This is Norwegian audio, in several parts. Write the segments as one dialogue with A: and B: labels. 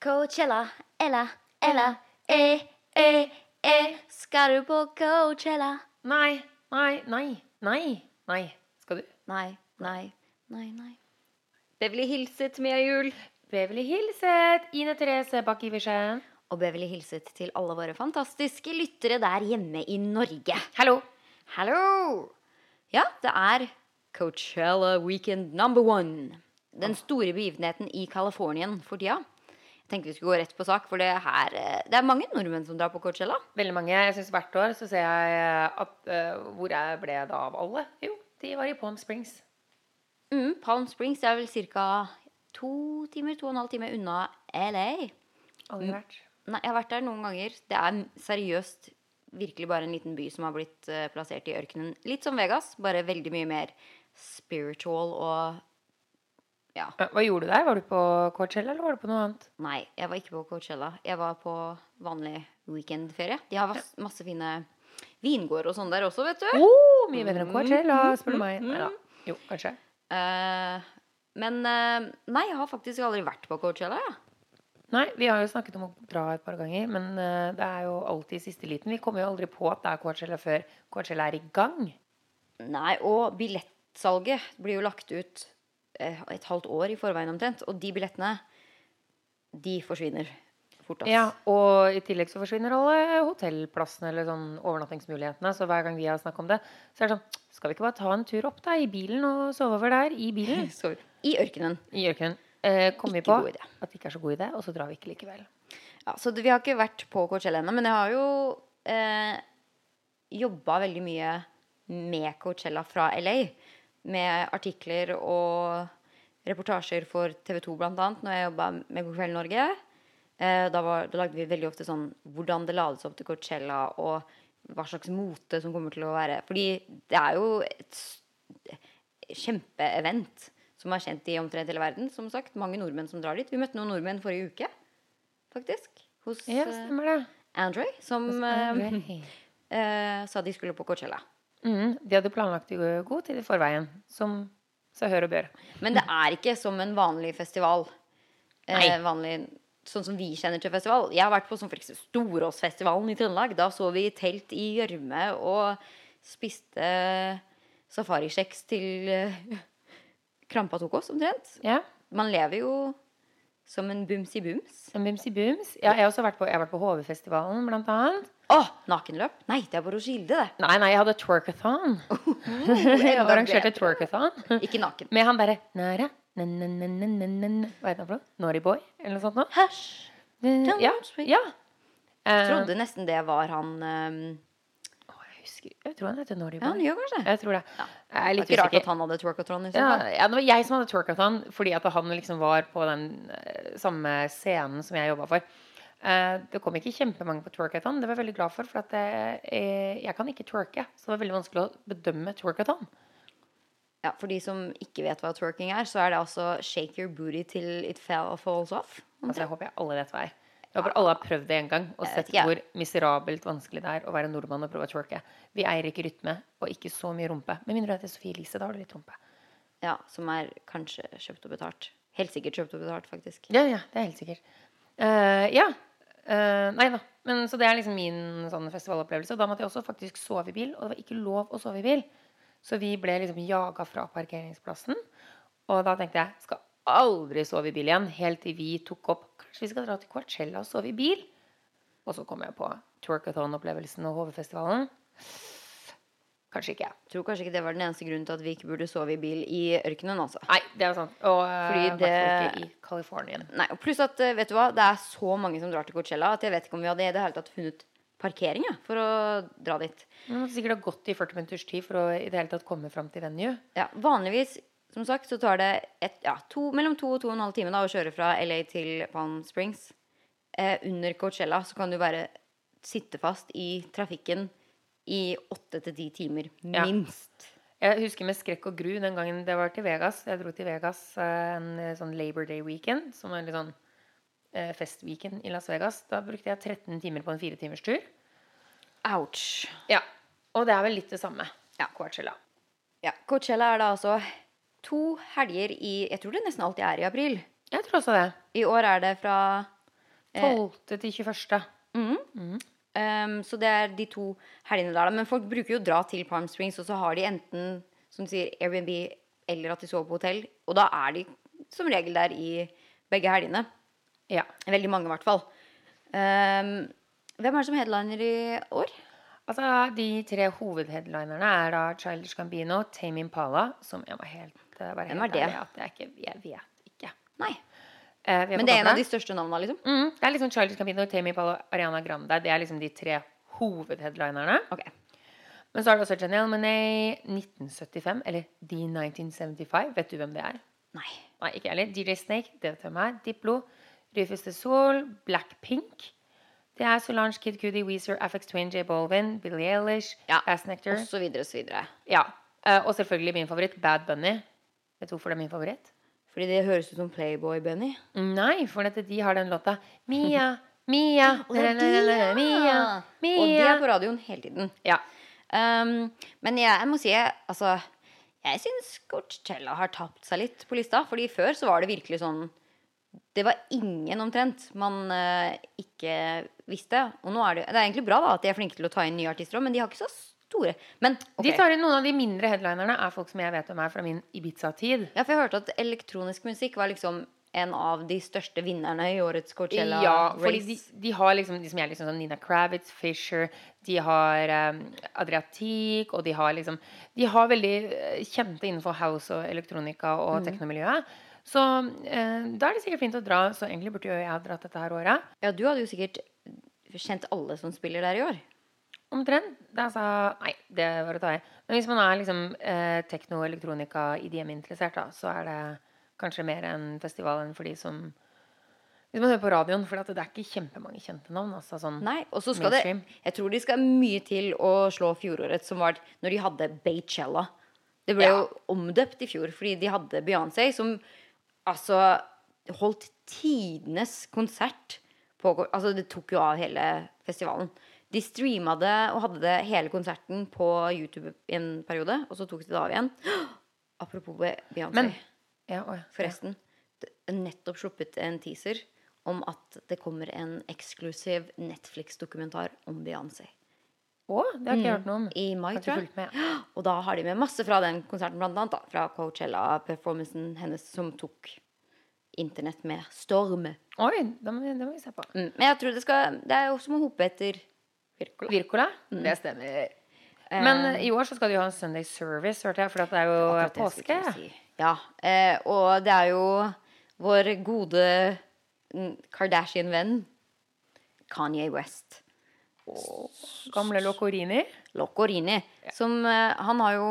A: Coachella, Ella, Ella, eh, eh, eh. Skal du på Coachella?
B: Nei, nei, nei, nei, nei. Skal du?
A: Nei, nei, nei, nei.
B: Beverly hilset Mia Jul. Beverly hilset Ine Therese Bakk-Iversen.
A: Og Beverly hilset til alle våre fantastiske lyttere der hjemme i Norge.
B: Hallo.
A: Hallo! Ja, det er Coachella Weekend number one. Den store begivenheten i Kalifornien for tida. Jeg tenkte vi skulle gå rett på sak, for det, her, eh, det er mange nordmenn som drar på Coachella.
B: Veldig mange. Jeg synes Hvert år så ser jeg eh, at eh, Hvor jeg ble da av alle? Jo, de var i Palm Springs.
A: Mm, Palm Springs er vel ca. to timer, to og en halv time unna LA.
B: Aldri vært.
A: Nei, jeg har vært der noen ganger. Det er m- seriøst virkelig bare en liten by som har blitt eh, plassert i ørkenen. Litt som Vegas, bare veldig mye mer spiritual og Ja.
B: Eh, Hva gjorde du der? Var du på Coachella, eller var du på noe annet?
A: Nei, jeg var ikke på Coachella. Jeg var på vanlig weekendferie. De har vas- masse fine vingårder og sånn der også, vet du.
B: Oh, mye bedre enn Coachella, spør du meg. Neida. mm, Jo, kanskje.
A: Eh, men eh, nei, jeg har faktisk aldri vært på Coachella. Ja.
B: Nei, vi har jo snakket om å dra et par ganger, men eh, det er jo alltid i siste liten. Vi kommer jo aldri på at det er Coachella før Coachella er i gang.
A: Nei, og billettsalget blir jo lagt ut eh, et halvt år i forveien omtrent. Og de billettene, de forsvinner fort. ass.
B: Ja, og i tillegg så forsvinner alle hotellplassene eller sånn overnattingsmulighetene. Så hver gang vi har snakket om det, så er det sånn Skal vi ikke bare ta en tur opp da, i bilen og sove over der? I bilen?
A: Så I ørkenen.
B: I ørkenen. Eh, kom vi
A: Ikke
B: på
A: god idé.
B: at det ikke er så god idé, og så drar vi ikke likevel.
A: Ja, så det- vi har ikke vært på Coachella ennå, men jeg har jo eh, jobba veldig mye med Coachella fra LA. Med artikler og reportasjer for TV2 blant annet, når jeg jobba med God kveld Norge. Eh, da, var, da lagde vi veldig ofte sånn hvordan det lades opp til Coachella, og hva slags mote som kommer til å være. Fordi det er jo et s- kjempeevent som er kjent i omtrent hele verden. Som sagt, mange nordmenn som drar dit. Vi møtte noen nordmenn forrige uke, faktisk. Hos
B: Ja,
A: eh,
B: stemmer det. Mm,
A: Andre, som eh,
B: Andre.
A: eh, sa de skulle på Coachella.
B: Mm, de hadde planlagt det i god tid i forveien, som så hør og bør.
A: Men det er ikke som en vanlig festival. Eh, vanlig, sånn som vi kjenner til festival. Jeg har vært på sånn for eksempel Storåsfestivalen i Trøndelag. Da så vi i telt i gjørme og spiste safarikjeks til eh, krampa tok oss, omtrent.
B: Ja.
A: Man lever jo som en bumsi bums.
B: en Bimsi Booms. Ja, jeg har også vært på, jeg har vært på HV-festivalen, blant annet.
A: Å, nakenløp! Nei, det er bare å skilde, det.
B: Nei, nei, jeg hadde twerkathon. jeg
A: enda
B: arrangerte
A: bedre.
B: twerkathon.
A: Ikke naken.
B: Med han derre Nære. Næ, næ, næ, næ, næ, næ, næ. Hva heter han for noe? Naughty Boy? Eller noe sånt noe?
A: Hæsj! Don't
B: Ja.
A: speak.
B: ja. Eh,
A: Trodde nesten det var han eh,
B: å, jeg, husker, jeg tror han heter Naughty
A: Ja, han
B: Boy.
A: gjør kanskje det.
B: Jeg tror det.
A: Ja.
B: Jeg er
A: Det er
B: litt
A: ikke rart at
B: usikker.
A: han hadde twerkatron. i så
B: Ja,
A: fall.
B: ja, det var jeg som hadde twerkathon fordi at han liksom var på den eh, samme scenen som jeg jobba for. Eh, det kom ikke kjempemange på twerkathon. Det var jeg veldig glad for, for at jeg, jeg kan ikke twerke. Så det var veldig vanskelig å bedømme twerkathon.
A: Ja, For de som ikke vet hva twerking er, så er det altså shake your booty till it fell falls off.
B: Altså, jeg håper jeg alle vet hva er. Jeg håper alle har prøvd det en gang og
A: Jeg vet
B: sett
A: ikke, jeg.
B: hvor miserabelt vanskelig det er å være nordmann og prøve å twerke. Vi eier ikke rytme og ikke så mye rumpe. Med mindre du heter Sofie Elise, da har du litt rumpe.
A: Ja, Som er kanskje kjøpt og betalt. Helt sikkert kjøpt og betalt, faktisk.
B: Ja, ja, det er helt sikkert. Eh, ja. Eh, nei da. Men, så det er liksom min sånn festivalopplevelse. Og da måtte jeg også faktisk sove i bil, og det var ikke lov å sove i bil. Så vi ble liksom jaga fra parkeringsplassen. Og da tenkte jeg skal aldri sove i bil igjen, helt til vi tok opp Kanskje vi skal dra til Coachella og sove i bil? Og så kom jeg på Twerkathon-opplevelsen og HV-festivalen. Kanskje ikke.
A: Tror kanskje ikke det var den eneste grunnen til at vi ikke burde sove i bil i ørkenen. altså.
B: Nei, det er sant. Og
A: Fordi
B: Fordi det...
A: det-
B: ikke i Kalifornien.
A: Nei, og Pluss at eh, vet du hva, det er så mange som drar til Coachella at jeg vet ikke om vi hadde i det hele tatt funnet parkering ja, for å dra dit.
B: Man måtte sikkert ha gått i 40 minutters tid for å i det hele tatt komme fram til venue.
A: Ja, Vanligvis som sagt, så tar det et, ja, to, mellom to og to og en halv time da, å kjøre fra LA til Palm Springs. Eh, under Coachella så kan du bare sitte fast i trafikken i åtte til ti timer.
B: Ja.
A: Minst.
B: Jeg husker med skrekk og gru den gangen det var til Vegas. Jeg dro til Vegas eh, en eh, sånn Labor Day weekend, som var en litt sånn eh, festweekend i Las Vegas. Da brukte jeg 13 timer på en fire timers tur.
A: Ouch.
B: Ja, Og det er vel litt det samme.
A: Ja.
B: Coachella.
A: Ja, Coachella er da altså to helger i Jeg tror det nesten alltid er i april.
B: Jeg tror også det.
A: I år er det fra
B: 12. til 21.
A: Mm. Ehm, så det er de to helgene der, da. Men folk bruker jo å dra til Palm Springs, og så har de enten som du sier, Airbnb eller at de sover på hotell. Og da er de som regel der i begge helgene.
B: Ja.
A: Veldig mange, i hvert fall. Ehm, hvem er det som headliner i år?
B: Altså, De tre hovedheadlinerne er da Childish Gambino, Tame Impala Som jeg må helt eh, være
A: Hvem
B: helt
A: er det?
B: ærlig at jeg, ikke, jeg vet ikke.
A: Nei.
B: Eh, vi
A: Men det er en av
B: på
A: de største navnene, liksom?
B: toppen. mm, Det er liksom Childish Gambino, Tame Impala, Ariana Grande. Det er liksom de tre hovedheadlinerne.
A: Ok.
B: Men så er det også Janelle Monáe, 1975, eller The 1975. Vet du hvem det er?
A: Nei.
B: Nei, ikke heller. DJ Snake, det vet jeg hvem er. Diplo, Rufus de Sol, Blackpink. Det er Solange, Kid Cudi, Weezer, Afex Twin, J Bolvin, Billie Eilish,
A: Ja,
B: Ass Nectar.
A: Og så videre og så videre.
B: Ja. eh, Og selvfølgelig min favoritt, Bad Bunny. Vet du hvorfor det er min favoritt?
A: Fordi det høres ut som Playboy, Benny.
B: Nei, for dette, de har den låta Mia, Mia,
A: Og det er de,
B: la-la-la-la, Mia,
A: ja. Og de
B: Mia.
A: er på radioen hele tiden.
B: Ja.
A: Ehm, men jeg, jeg må si altså, Jeg syns Coachella har tapt seg litt på lista. Fordi før så var det virkelig sånn Det var ingen omtrent man eh, ikke visste. Og nå er det, det er egentlig bra da at de er flinke til å ta inn nye artister òg, men de har ikke så store. Men ok.
B: De tar inn noen av de mindre headlinerne er folk som jeg vet hvem er fra min Ibiza-tid.
A: ja, for jeg hørte at elektronisk musikk var liksom en av de største vinnerne i årets Coachella
B: Ja, fordi
A: race.
B: de, de har liksom de som er liksom sånn Nina Kravitz, Fisher, de har um, Adriatic, og de har liksom De har veldig eh, kjente innenfor house og elektronika og teknomiljøet. Så eh, da er det sikkert fint å dra. Så egentlig burde jo jeg ha dratt dette her året.
A: Ja, du hadde jo sikkert kjent alle som spiller der i år.
B: Omtrent. Da sa Nei, det var å ta i. Men hvis man er liksom eh, tekno, elektronika, IDM-interessert, da, så er det kanskje mer en festival enn for de som Hvis man hører på radioen, for at det er ikke kjempemange kjente navn. Altså sånn
A: Nei, og så skal det
B: Mainstream.
A: Jeg tror de skal mye til å slå fjoråret, som var når de hadde Baychella. Det ble
B: Ja.
A: jo omdøpt i fjor fordi de hadde Beyoncé, som altså holdt tidenes konsert på Altså, det tok jo av hele festivalen. De streama det og hadde det hele konserten på YouTube i en periode, og så tok de det av igjen. Apropos Be- Beyoncé,
B: Men- Ja, å ja.
A: forresten. det er Nettopp sluppet en teaser om at det kommer en eksklusiv Netflix-dokumentar om Beyoncé.
B: Å, det har jeg ikke hørt noe om.
A: I mai,
B: Har
A: Mm.
B: ikke
A: tror jeg.
B: fulgt med.
A: Og da har de med masse fra den konserten, blant annet. Da, fra Coachella-performancen hennes som tok internett med storm.
B: Oi, det må, vi- det må vi se på.
A: Mm. Men jeg tror det skal Det er jo som å hope etter Virkola.
B: Virkola?
A: Mm.
B: Det stemmer. Men eh, i år så skal de jo ha en Sunday service, hørte jeg, for at det er jo
A: Akkurat det jeg
B: påske.
A: skulle si. Ja. Eh, og det er jo vår gode mm, Kardashian-venn Kanye West.
B: Gamle Locorini.
A: Locorini. Som eh, han har jo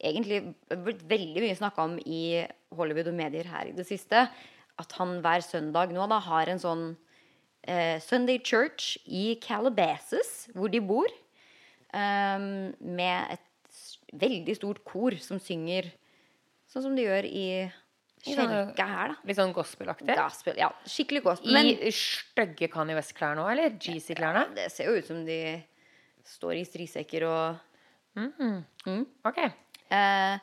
A: egentlig blitt veldig mye snakka om i Hollywood og medier her i det siste. At han hver søndag nå da har en sånn eh, Sunday Church i Calabasas, hvor de bor. ehm, med et s- veldig stort kor som synger sånn som de gjør i
B: sånne-
A: kjelka her, da.
B: Litt sånn gospelaktig.
A: Gospel, ja, skikkelig gospel. Men
B: I stygge Kanye West-klær nå, eller? GC-klærne.
A: det ser jo ut som de står i strisekker og
B: Ok.
A: Eh,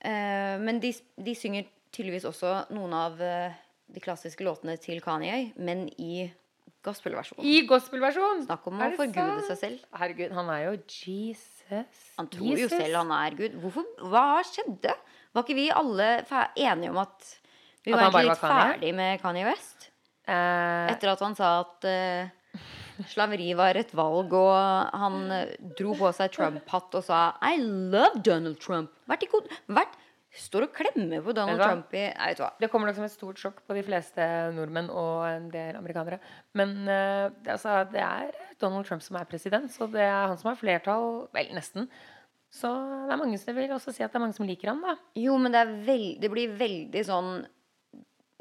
A: eh, men de, de synger tydeligvis også noen av eh, de klassiske låtene til Kanye, men i gospelversjonen.
B: I gospelversjon!
A: Snakk om
B: Er
A: å
B: det
A: forgude
B: sant?
A: seg selv.
B: Herregud, han er jo Jesus.
A: Han tror jo selv han er Gud. Hvorfor, hva skjedde? Var ikke vi alle fe- enige om at vi
B: At
A: var
B: han bare
A: egentlig litt
B: var Kanye?
A: ferdig med Kanye West?
B: Eh,
A: Etter at han sa at eh, slaveri var et valg, og han eh, dro på seg Trump-hatt og sa I love Donald Trump. Vært i god Vært Står og klemmer på Donald
B: Vet du hva?
A: Trump i Nei, vet du hva.
B: Det kommer nok som et stort sjokk på de fleste nordmenn og en del amerikanere. Men eh, det- altså, det er Donald Trump som er president, så det er han som har flertall. Vel, nesten. Så det er mange som jeg vil også si at det er mange som liker han da.
A: Jo, men det, er vel, det blir veldig sånn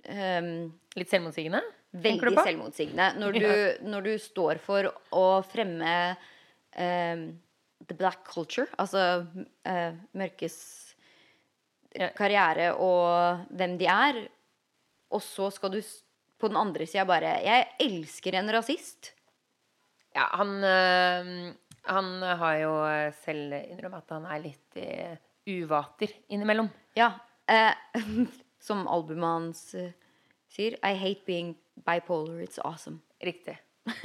A: ehm,
B: Litt selvmotsigende. tenker
A: Veldig
B: du på?
A: selvmotsigende. Når du, når du står for å fremme ehm, the black culture, altså eh, mørkes
B: Ja.
A: karriere og hvem de er, og så skal du s- på den andre sida bare Jeg elsker en rasist.
B: Ja, han, eh, han har jo selv innrømmet at han er litt eh, uvater innimellom.
A: Ja. eh, som albumet hans eh, sier. I hate being bipolar, it's awesome.
B: Riktig.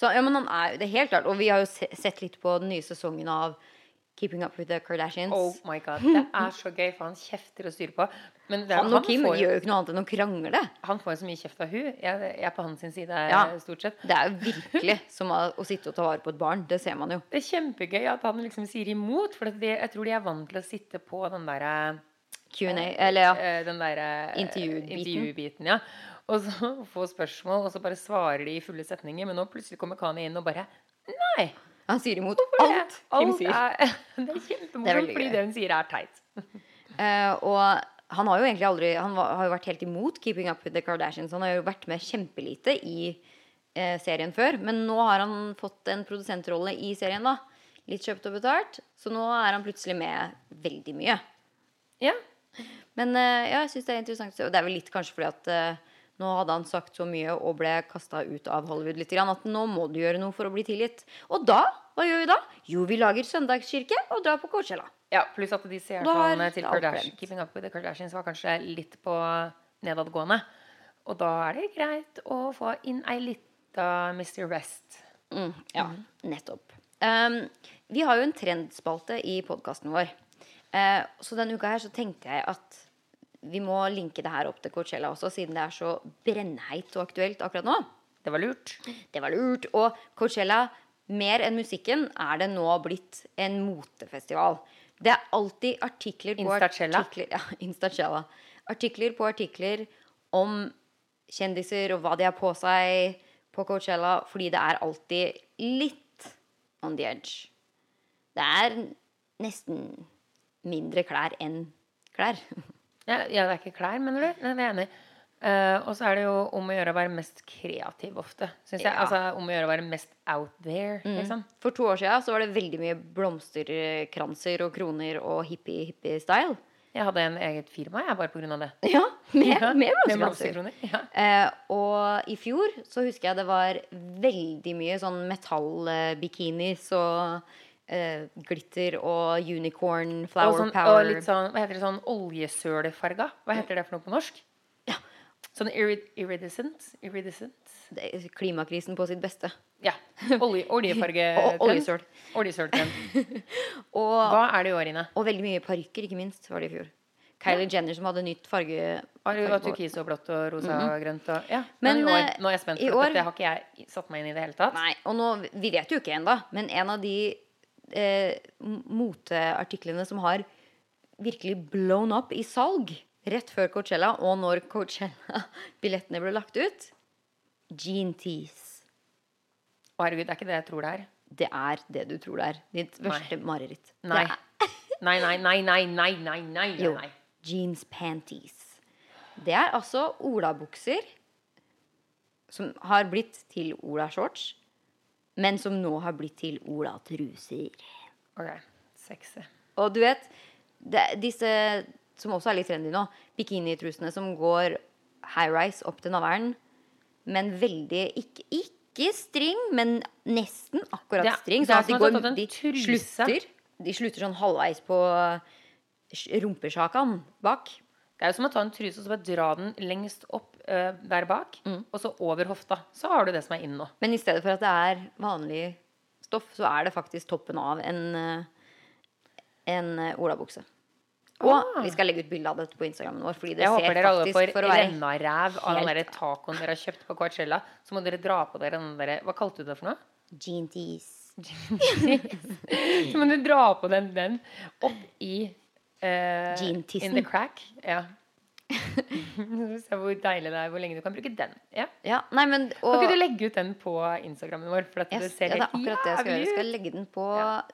A: Så ja, men han er, Det er helt klart. Og vi har jo se, sett litt på den nye sesongen av Keeping Up With The Kardashians.
B: Oh my god, Det er så gøy, for han kjefter og styrer på. Men det er,
A: han og Kim
B: får, jo-
A: gjør jo ikke noe annet enn å krangle.
B: han får jo så mye kjeft av hun Jeg, jeg er på hans sin side
A: Ja.
B: stort sett.
A: Det er jo virkelig som å, å sitte og ta vare på et barn. Det ser man jo.
B: Det er kjempegøy at han liksom sier imot, for at de, jeg tror de er vant til å sitte på den derre
A: Q&A. Eller ja.
B: eh, Den der, eh,
A: Intervjubiten.
B: intervjubiten, ja. Og så få spørsmål, og så bare svarer de i fulle setninger. Men nå plutselig kommer Kani inn og bare Nei!
A: Han sier imot
B: for det-
A: alt Kim
B: alt
A: sier.
B: Er, det er
A: Det er
B: kjempemorsomt,
A: veldig
B: fordi
A: gøy.
B: det hun sier, er teit.
A: Eh, og han har jo egentlig aldri Han var, har jo vært helt imot Keeping Up With The Kardashians. Han har jo vært med kjempelite i eh, serien før. Men nå har han fått en produsentrolle i serien, da. Litt kjøpt og betalt. Så nå er han plutselig med veldig mye.
B: Ja.
A: Men eh, ja, jeg synes det er interessant. å se, Og det er vel litt kanskje fordi at eh, nå hadde han sagt så mye og ble kasta ut av Hollywood litt, grann, at nå må du gjøre noe for å bli tilgitt. Og da? Hva gjør vi da? Jo, vi lager søndagskirke og drar på Coachella.
B: ja pluss at de
A: Da
B: seertallene
A: har
B: til
A: alt
B: Kardashian,
A: glemt.
B: Keeping Up With The Kardashians var kanskje litt på nedadgående. Og da er det greit å få inn ei lita Mr. Rest.
A: Mm, ja, nettopp. Um, vi har jo en trendspalte i podkasten vår. Eh, så denne uka her så tenkte jeg at vi må linke det her opp til Coachella også, siden det er så brennheit og aktuelt akkurat nå.
B: Det var lurt.
A: Det var lurt. Og Coachella, mer enn musikken, er det nå blitt en motefestival. Det er alltid artikler på
B: Instacella.
A: artikler Ja, Instacella. Artikler på artikler om kjendiser og hva de har på seg på Coachella, fordi det er alltid litt on the edge. Det er nesten mindre klær enn klær.
B: Ja, ja, det er ikke klær, mener du? Nei, det er jeg enig. i. Eh, og så er det jo om å gjøre å være mest kreativ ofte. Synes jeg.
A: Ja. Mm.
B: Altså om å gjøre å være mest out there, liksom.
A: For to år siden så var det veldig mye blomsterkranser og kroner og hippie-hippie-style.
B: Jeg hadde en eget firma, jeg, bare på grunn av det.
A: Ja, med,
B: Ja,
A: med
B: med
A: blomsterkranser.
B: blomsterkroner, Ja.
A: Eh, og i fjor så husker jeg det var veldig mye sånn metallbikinis og eh, glitter og unicorn
B: Og,
A: flower
B: sånn, og
A: power.
B: litt sånn, hva heter det, sånn oljesølefarga? Hva heter det for noe på norsk?
A: Ja.
B: Sånn irri iridescent? Iridescent?
A: Det- Klimakrisen på sitt beste.
B: Ja. Olje, oljefarge
A: Og oljesøl.
B: Oljesøltrend.
A: Og,
B: Hva er det i år, Ine?
A: og veldig mye parykker, ikke minst, var det i fjor. Kylie Jenner som hadde nytt farge...
B: Har du
A: fargebord.
B: turkis og blått og rosa og grønt og Ja.
A: Mhm. Men, eh,
B: Men, i år, nå er jeg spent,
A: i
B: for
A: år-
B: dette har ikke jeg satt meg inn i det hele tatt.
A: Nei, og nå, vi vet jo ikke ennå, men en av de eh, m- moteartiklene som har virkelig blown up i salg rett før Coachella, og når Coachella-billettene ble lagt ut Jean Tees.
B: Å, herregud, det er ikke det jeg tror det er.
A: Det er det du tror det er. Ditt verste mareritt. Det
B: Nei.
A: er-
B: Nei, nei, nei, nei, nei, nei, nei, nei,
A: Jo.
B: nei.
A: Jeans panties. Det er altså olabukser som har blitt til olashorts, men som nå har blitt til olatruser.
B: Ok, sexy.
A: Og du vet, det, disse som også er litt trendy nå, bikinitrusene som går high rise opp til navlen, men veldig ikke, ikke string, men nesten akkurat
B: Det er-
A: string.
B: det er
A: Sånn at de,
B: som å ha tatt
A: går,
B: en
A: de,
B: truse.
A: slutter, de slutter sånn halvveis på sj- rumpesjakan bak.
B: Det er jo som å ta en truse og så bare dra den lengst opp eh, der bak,
A: Mm.
B: og så over hofta. Så har du det som er inn nå.
A: Men i stedet for at det er vanlig stoff, så er det faktisk toppen av en, eh, en eh, olabukse. Og
B: Ah.
A: vi skal legge ut bilde av dette på Instagrammen vår. Fordi det
B: Jeg håper
A: ser
B: dere alle
A: faktisk
B: får
A: for å være
B: rennaræv av den
A: helt-
B: der tacoen dere har kjøpt på Coachella. Så må dere dra på dere den derre Hva kalte du det for noe?
A: Jean Tees.
B: Så må du dra på den, den opp i eh,
A: Jean-tissen.
B: In the crack. Ja. Se hvor deilig det er, hvor lenge du kan bruke den. Ja.
A: Ja, nei, men
B: Kan
A: og,
B: ikke du legge ut den på Instagrammen vår? For at
A: jeg,
B: det
A: ja,
B: ser
A: det er
B: helt
A: akkurat det jeg skal gjøre. Jeg
B: jævlig ut.
A: skal legge den på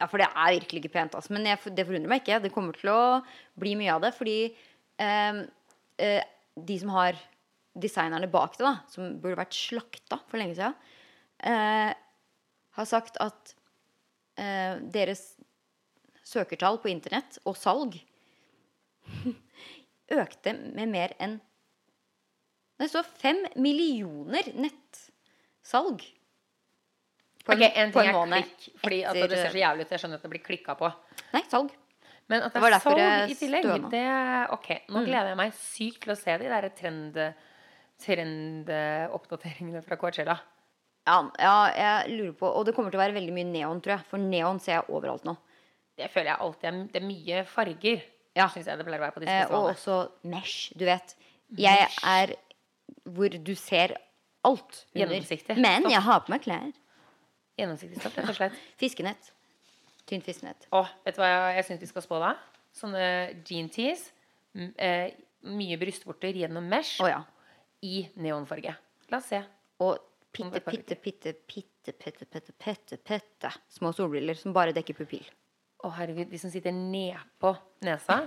A: ja. For det er virkelig ikke pent. Altså. Men jeg, det forundrer meg ikke. Det kommer til å bli mye av det. Fordi ehm, eh, de som har designerne bak det, da, som burde vært slakta for lenge siden, eh, har sagt at eh, deres søkertall på internett og salg økte med mer enn Det står fem millioner nettsalg på
B: Ok, en ting
A: på
B: er
A: måned
B: klikk, fordi at det ser
A: etter-
B: så jævlig ut. Jeg skjønner at det blir klikka på.
A: Nei, salg.
B: Men at det,
A: Det var
B: er
A: derfor
B: salg
A: jeg Mm.
B: i tillegg,
A: støna.
B: det Ok, nå gleder jeg meg sykt til å se de der trend... trendoppdateringene fra Coachella.
A: Ja, ja, jeg lurer på Og det kommer til å være veldig mye neon, tror jeg. For neon ser jeg overalt nå.
B: Det føler jeg alltid er, det er mye farger.
A: Ja.
B: Synes jeg det pleier å være på disse
A: Eh, og
B: festivalene.
A: også mesh, du vet. Jeg er hvor du ser alt under.
B: Gjennomsiktig.
A: Men
B: Stoff.
A: jeg har på meg klær.
B: Gjennomsiktig stoff, rett og slett.
A: Fiskenett. Tynt fiskenett.
B: Å, vet du hva jeg, jeg syns vi skal spå da? Sånne jean tees. m- Eh, mye brystvorter gjennom mesh
A: Å ja.
B: i neonfarge. La oss se.
A: Og
B: Om
A: pitte,
B: det farger.
A: pitte, pitte, pitte, pitte, pitte, pitte, pitte små solbriller som bare dekker pupill.
B: Å, herregud, de som sitter nedpå nesa.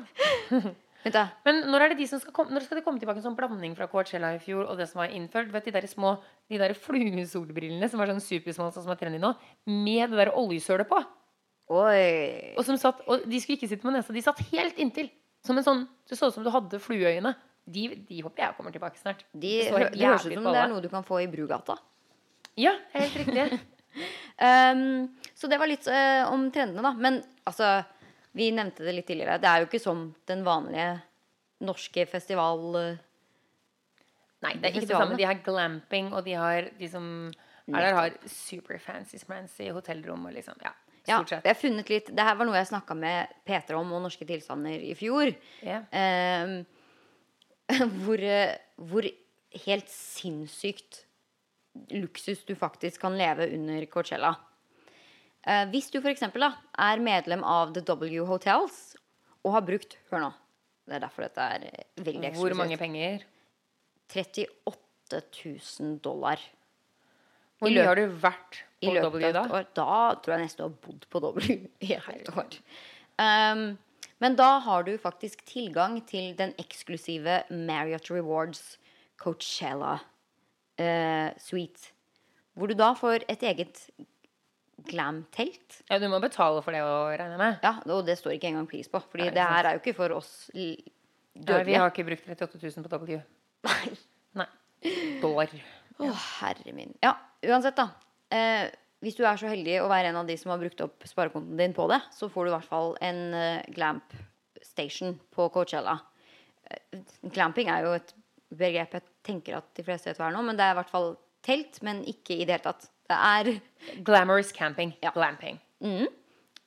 A: Vent, da.
B: Men når, er det de som skal komme, når skal det komme tilbake en sånn blanding fra Coachella i fjor og det som var innført? Vet du, De der små, de der fluesolbrillene som var sånn supersmå, sånn som er trendy nå, med det der oljesølet på.
A: Oi.
B: Og, som satt, og de skulle ikke sitte med nesa, de satt helt inntil. Som en sånn, Det så ut som du hadde flueøyne. De, de håper jeg kommer tilbake snart.
A: De,
B: Det så
A: hø-
B: helt
A: det høres ut
B: jævlig på
A: som det
B: alle.
A: er noe du kan få i Brugata.
B: Ja, helt riktig.
A: Ehm, så det var litt eh, om trendene, da. Men altså, vi nevnte det litt tidligere. Det er jo ikke som den vanlige norske festival... eh,
B: Nei, det er ikke det
A: Festivalene.
B: samme. De har glamping, og de har de som er der, har superfancy smancy hotellrom og liksom Ja,
A: Ja,
B: stort
A: jeg
B: sett.
A: har funnet litt Det her var noe jeg snakka med Peter om og Norske tilstander i fjor.
B: Ja.
A: Ehm, hvor, eh, hvor helt sinnssykt luksus du faktisk kan leve under Coachella. Eh, hvis du f.eks. er medlem av The W Hotels og har brukt Hør nå. Det er derfor dette er eh, veldig eksklusivt.
B: Hvor mange penger?
A: 38 000 dollar
B: Hvor
A: I
B: mye
A: løp-
B: har du vært
A: i
B: på
A: løpet
B: W
A: av
B: da?
A: et år. Da tror jeg nesten du har bodd på W i et helt år. Um, men da har du faktisk tilgang til den eksklusive Marriott Rewards Coachella eh, suite. Hvor du da får et eget glam-telt.
B: Ja, du må betale for det å regne med.
A: Ja, og det står ikke engang pris på. Fordi
B: Nei,
A: det
B: sant.
A: her er jo ikke for oss l-
B: Ja, vi
A: dødelige.
B: har ikke brukt 38 000 på W.
A: Nei.
B: Nei. Dollar.
A: Å, herre min. Ja, uansett, da. Eh, hvis du er så heldig å være en av de som har brukt opp sparekonten din på det, så får du i hvert fall en eh, glamp station på Coachella. Eh, glamping er jo et begrep jeg tenker at de fleste vet hva er nå, men det er i hvert fall telt, men ikke i det hele tatt. Det er
B: Glamorous camping.
A: Ja.
B: Glamping.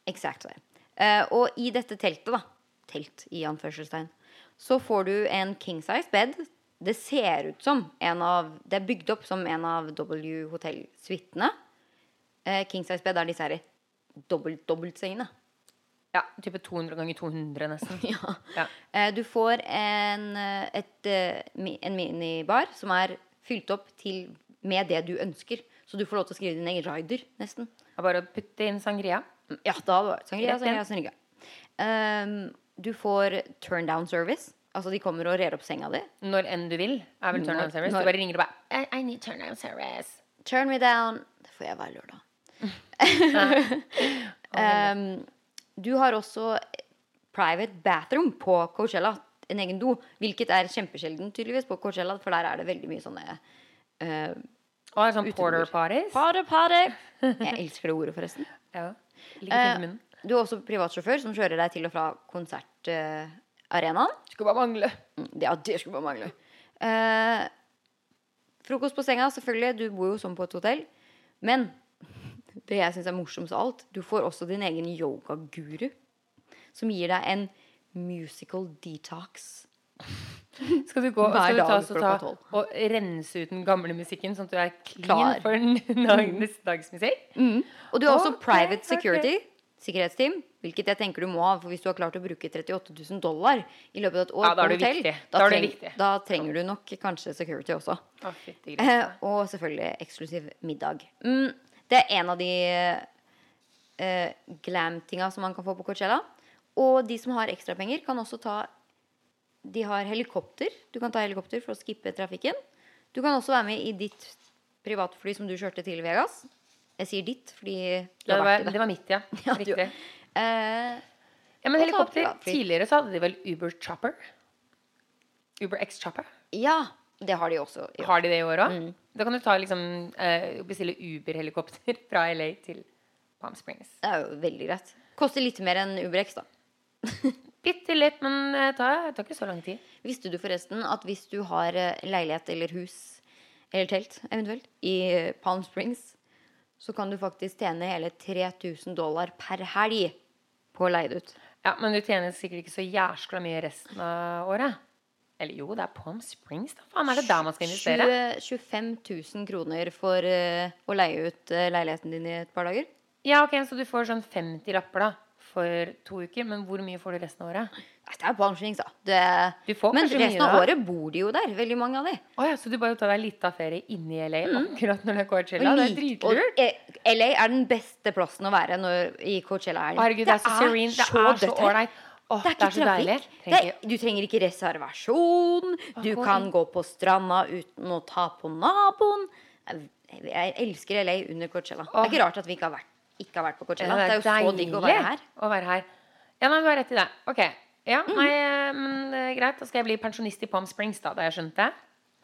A: Exactly. Eh, og i dette teltet, da, telt i anførselstegn, så får du en king size bed. Det ser ut som en av Det er bygd opp som en av W Hotel-suitene. Eh, king size bed er disse her dobbelt, dobbeltsengene.
B: Ja, type 200 ganger 200 nesten.
A: Ja.
B: Ja.
A: Eh, du får en, eh, et, eh, mi- en minibar som er fylt opp til, med det du ønsker. Så du får lov til å skrive din egen rider, nesten.
B: Det er Bare å putte inn sangria.
A: Sånn Ja, da var det sangria,
B: Rett
A: sangria,
B: igjen.
A: sangria. Ehm, du får turn down service. Altså, de kommer og rer opp senga di.
B: Når enn du vil. Er vel turn
A: Når-
B: down service.
A: når-
B: Du bare ringer og bare I, I need turn down service.
A: Turn me down. Det får jeg hver lørdag. Ehm, du har også private bathroom på Coachella. En egen do. Hvilket er kjempesjelden tydeligvis på Coachella, for der er det veldig mye sånne eh,
B: Og er sånn
A: Utebord.
B: porter parties.
A: Party, party! Jeg elsker det ordet, forresten.
B: Ja. Ligger
A: Eh,
B: fint i munnen.
A: du er også privatsjåfør som kjører deg til og fra konsertarenaen.
B: Skulle bare mangle.
A: Det- Ja, det skulle bare mangle. Eh, frokost på senga, selvfølgelig. Du bor jo som på et hotell. Men det jeg syns er morsomst av alt, du får også din egen yogaguru. Som gir deg en musical detox.
B: Skal du gå
A: Hver
B: skal du ta,
A: dag
B: så
A: klokka
B: ta,
A: tolv.
B: og rense ut den gamle musikken, sånn at du er
A: Klar.
B: clean
A: Mm.
B: for den dag- neste dags musikk?
A: Og du har også
B: Mm. Ok,
A: private
B: ok.
A: security. Sikkerhetsteam. Hvilket jeg tenker du må ha, for hvis du har klart å bruke 38 000 dollar i løpet av et år
B: Ja, da er
A: på
B: du
A: hotell,
B: viktig.
A: da,
B: Da er du
A: treng,
B: viktig.
A: da trenger du nok kanskje security også.
B: Å, fytti grisen.
A: Eh, og selvfølgelig eksklusiv middag. Mm, det er en av de eh, glam-tinga som man kan få på Coachella. Og de som har ekstrapenger, kan også ta De har helikopter. Du kan ta helikopter for å skippe trafikken. Du kan også være med i ditt privatfly som du kjørte til Vegas. Jeg sier ditt fordi du
B: Ja,
A: har vært
B: det, var,
A: i det.
B: det var mitt, ja.
A: Ja, du-
B: Riktig.
A: Eh,
B: Ja, men
A: Og ta
B: helikopter.
A: privatfly.
B: Tidligere så hadde de vel Uber Chopper? Uber X Chopper?
A: ja, det har de også. i år.
B: Har de det i år òg? Da kan du ta, liksom, eh, bestille Uber-helikopter fra LA til Palm Springs.
A: Det er jo veldig greit. Koster litt mer enn UberX, da.
B: Bitte litt, men det tar, det tar ikke så lang tid.
A: Visste du forresten at hvis du har eh, leilighet eller hus eller telt eventuelt i eh, Palm Springs, så kan du faktisk tjene hele 3000 dollar per helg på å leie det ut.
B: Ja, Men du tjener sikkert ikke så jæskla mye resten av året. Eller jo, det er Palm Springs, da. Faen, er det der man skal investere?
A: 20, 25 000 kroner for eh, å leie ut eh, leiligheten din i et par dager.
B: Ja, ok, Så du får sånn 50 lapper da for to uker, men hvor mye får du resten av året?
A: Nei, Det er Palm Springs, da. Det,
B: Du får
A: men
B: kanskje mye,
A: resten av
B: da.
A: året bor de jo der, veldig mange av de.
B: Å ja, Så du bare tar deg litt av ferie inni LA akkurat når det er
A: Og
B: Coachella? Det er
A: lik-
B: dritlurt.
A: og, eh, LA er den beste plassen å være når, i Coachella. er den.
B: Herregud, det er så serene. Det er så
A: dødt her.
B: ålreit. Åh,
A: Det er ikke
B: så deilig.
A: trafikk. Det
B: Trenger
A: er,
B: ikke-
A: du trenger ikke reservasjon. Du
B: Akkurat.
A: kan gå på stranda uten å ta på naboen. Jeg, jeg elsker LA under Coachella. Det
B: Åh.
A: er ikke rart at vi ikke har vært, ikke har vært på Coachella. Det er jo så digg å
B: Eh, deilig
A: være her. Mm.
B: å være her. Ja, nei, du har rett i det. Ok. Ja, nei, eh, men eh, greit. Da skal jeg bli pensjonist i Palm Springs, da. Det har jeg skjønt det.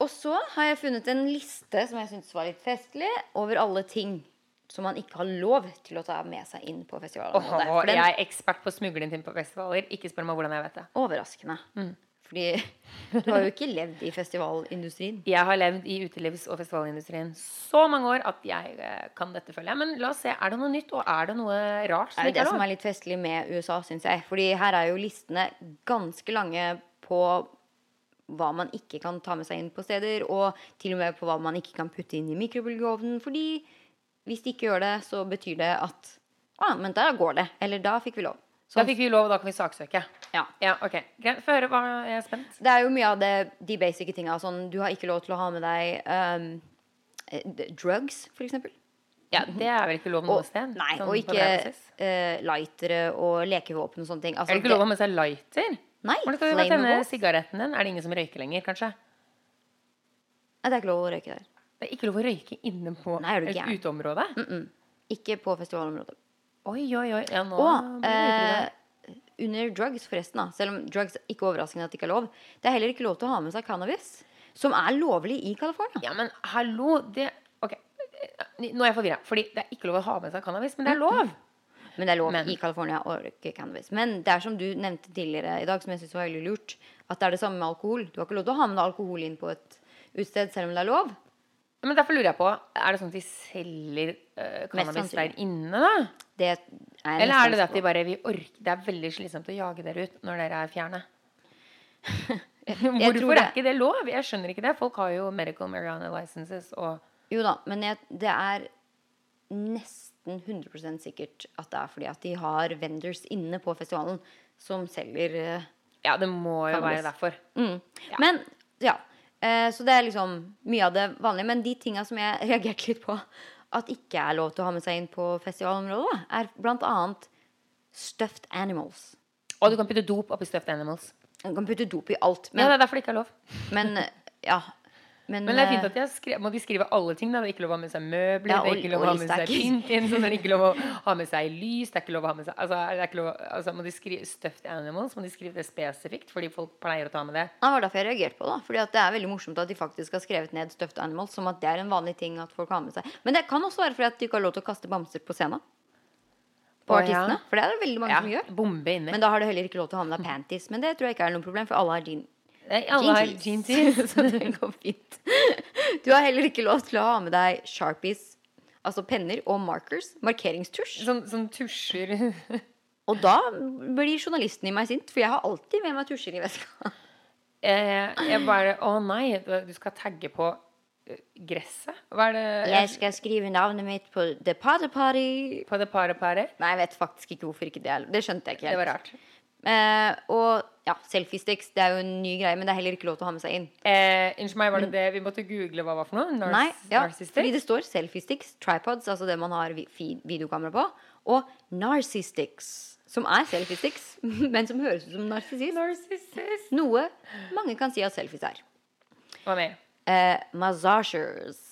A: Og så har jeg funnet en liste som jeg syns var litt festlig, over alle ting som man ikke har lov til å ta med seg inn på festivalen.
B: Åh,
A: Og derfor den
B: jeg er ekspert på smuglingen din på festivaler. Ikke spør meg hvordan jeg vet det.
A: Overraskende.
B: Mm.
A: Fordi du har jo ikke levd i festivalindustrien.
B: Jeg har levd i utelivs- og festivalindustrien så mange år at jeg eh, kan dette, føler jeg. Men la oss se, er det noe nytt, og er det noe rart
A: Det
B: som
A: er jo
B: ikke
A: det
B: er
A: som
B: lov?
A: er litt festlig med USA, syns jeg. Fordi her er jo listene ganske lange på hva man ikke kan ta med seg inn på steder, og til og med på hva man ikke kan putte inn i mikrobølgeovnen. Fordi hvis de ikke gjør det, så betyr det at ah, men der går det. Eller da fikk vi lov.
B: Da
A: Sånn,
B: fikk vi lov, og da kan vi saksøke.
A: ja.
B: Ja, ok. Greit. Få høre, hva jeg er spent.
A: Det er jo mye av det, de basic tinga. Sånn, du har ikke lov til å ha med deg um, eh, d- drugs, for eksempel.
B: Ja, det er vel ikke lov noe
A: Og,
B: sted?
A: nei,
B: sånn
A: og
B: på
A: ikke
B: daglig basis.
A: eh, lightere og lekevåpen og sånne ting. Altså,
B: Er det ikke lov å ha med seg lighter?
A: Nei,
B: Hvordan skal du bare tenne
A: flammevåpen.
B: sigaretten din? Er det ingen som røyker lenger, kanskje?
A: Nei, det er ikke lov å røyke der.
B: Det er ikke lov å røyke inne på
A: Nei, er du
B: et
A: gæren?
B: uteområde?
A: Ikke på festivalområdet.
B: Oi, oi, oi. Ja, nå
A: Og
B: blir det
A: eh,
B: utryddet.
A: under drugs, forresten, da, selv om drugs ikke er overraskende at det ikke er lov, det er heller ikke lov til å ha med seg cannabis, som er lovlig i California.
B: Ja, men hallo, det Ok. Nå er jeg forvirra. Fordi det er ikke lov å ha med seg cannabis, men det er lov.
A: Men det er lov
B: Men-
A: i California å røyke cannabis. Men det er som du nevnte tidligere i dag, som jeg synes var veldig lurt, at det er det samme med alkohol. Du har ikke lov til å ha med deg alkohol inn på et utested selv om det er lov.
B: Men derfor lurer jeg på, er det sånn at de selger eh, cannabis der
A: sannsynlig.
B: inne, da?
A: Det er jeg
B: Eller er
A: nesten
B: det det at de
A: sikker på.
B: bare vi orker, Det er veldig slitsomt å jage dere ut når dere er fjerne.
A: jeg tror
B: Hvorfor
A: det-
B: er ikke det lov? Jeg skjønner ikke det. Folk har jo medical marijuana licenses og
A: Jo da, men jeg, det er nesten 100 sikkert at det er fordi at de har vendors inne på festivalen som selger eh,
B: Ja, det må jo
A: Cannabis.
B: være derfor.
A: mm. Men, ja. eh, så det er liksom mye av det vanlige. Men de tinga som jeg reagerte litt på at ikke er lov til å ha med seg inn på festivalområdet, da, er blant annet stuffed animals.
B: Og du kan putte dop oppi stuffed animals.
A: Man kan putte dop i alt,
B: ja,
A: men
B: det er derfor det ikke er lov.
A: Men, eh, ja. Men,
B: Men det er fint
A: eh,
B: at de har skre- må de skrive alle ting. Da. Det er ikke lov å ha med seg møbler,
A: Ja,
B: det
A: og-
B: er ikke lov å
A: og
B: ha med seg
A: lysstaker.
B: pynt inn, sånn, det er ikke lov å ha med seg lys, det er ikke lov å ha med seg altså, det er ikke lov, å- altså, Må de skrive stuffed animals, må de skrive det spesifikt, fordi folk pleier å ta med det.
A: Det var derfor jeg reagerte på det. da. Fordi at det er veldig morsomt at de faktisk har skrevet ned stuffed animals. Som at det er en vanlig ting at folk har med seg. Men det kan også være fordi at de ikke har lov til å kaste bamser på scenen. På
B: Å, ja.
A: artistene. For det er det veldig mange
B: Ja,
A: som gjør.
B: bombe inni.
A: Men da har du heller ikke lov til å ha med deg panties. Men det tror jeg ikke er noe problem, for alle har jean.
B: Nei, alle har jean tees.
A: så det går fint. Du har heller ikke lov til å ha med deg sharpies, altså penner og markers, markeringstusj.
B: Sånn, sånn tusjer
A: Og da blir journalisten i meg sint, for jeg har alltid med meg tusjer i veska.
B: Eh, Jeg bare Å nei, du skal tagge på eh, gresset? Hva er det
A: Jeg skal skrive navnet mitt på The Potter Party.
B: På det paret-paret?
A: Nei, jeg vet faktisk ikke hvorfor ikke det er Det skjønte jeg ikke helt.
B: Det var rart.
A: Eh, og ja, selfiesticks, det er jo en ny greie, men det er heller ikke lov til å ha med seg inn.
B: Eh, Unnskyld meg, var det det vi måtte google hva var for noe? Nars
A: Mm. Nei, ja,
B: narsistic?
A: fordi det står selfiesticks, tripods, altså det man har vi- fi- videokamera på, og narcissistics, som er selfiesticks, men som høres ut som narsissist.
B: Narcissist.
A: Noe mange kan si at selfies er.
B: Hva mer?
A: Eh, massasjers.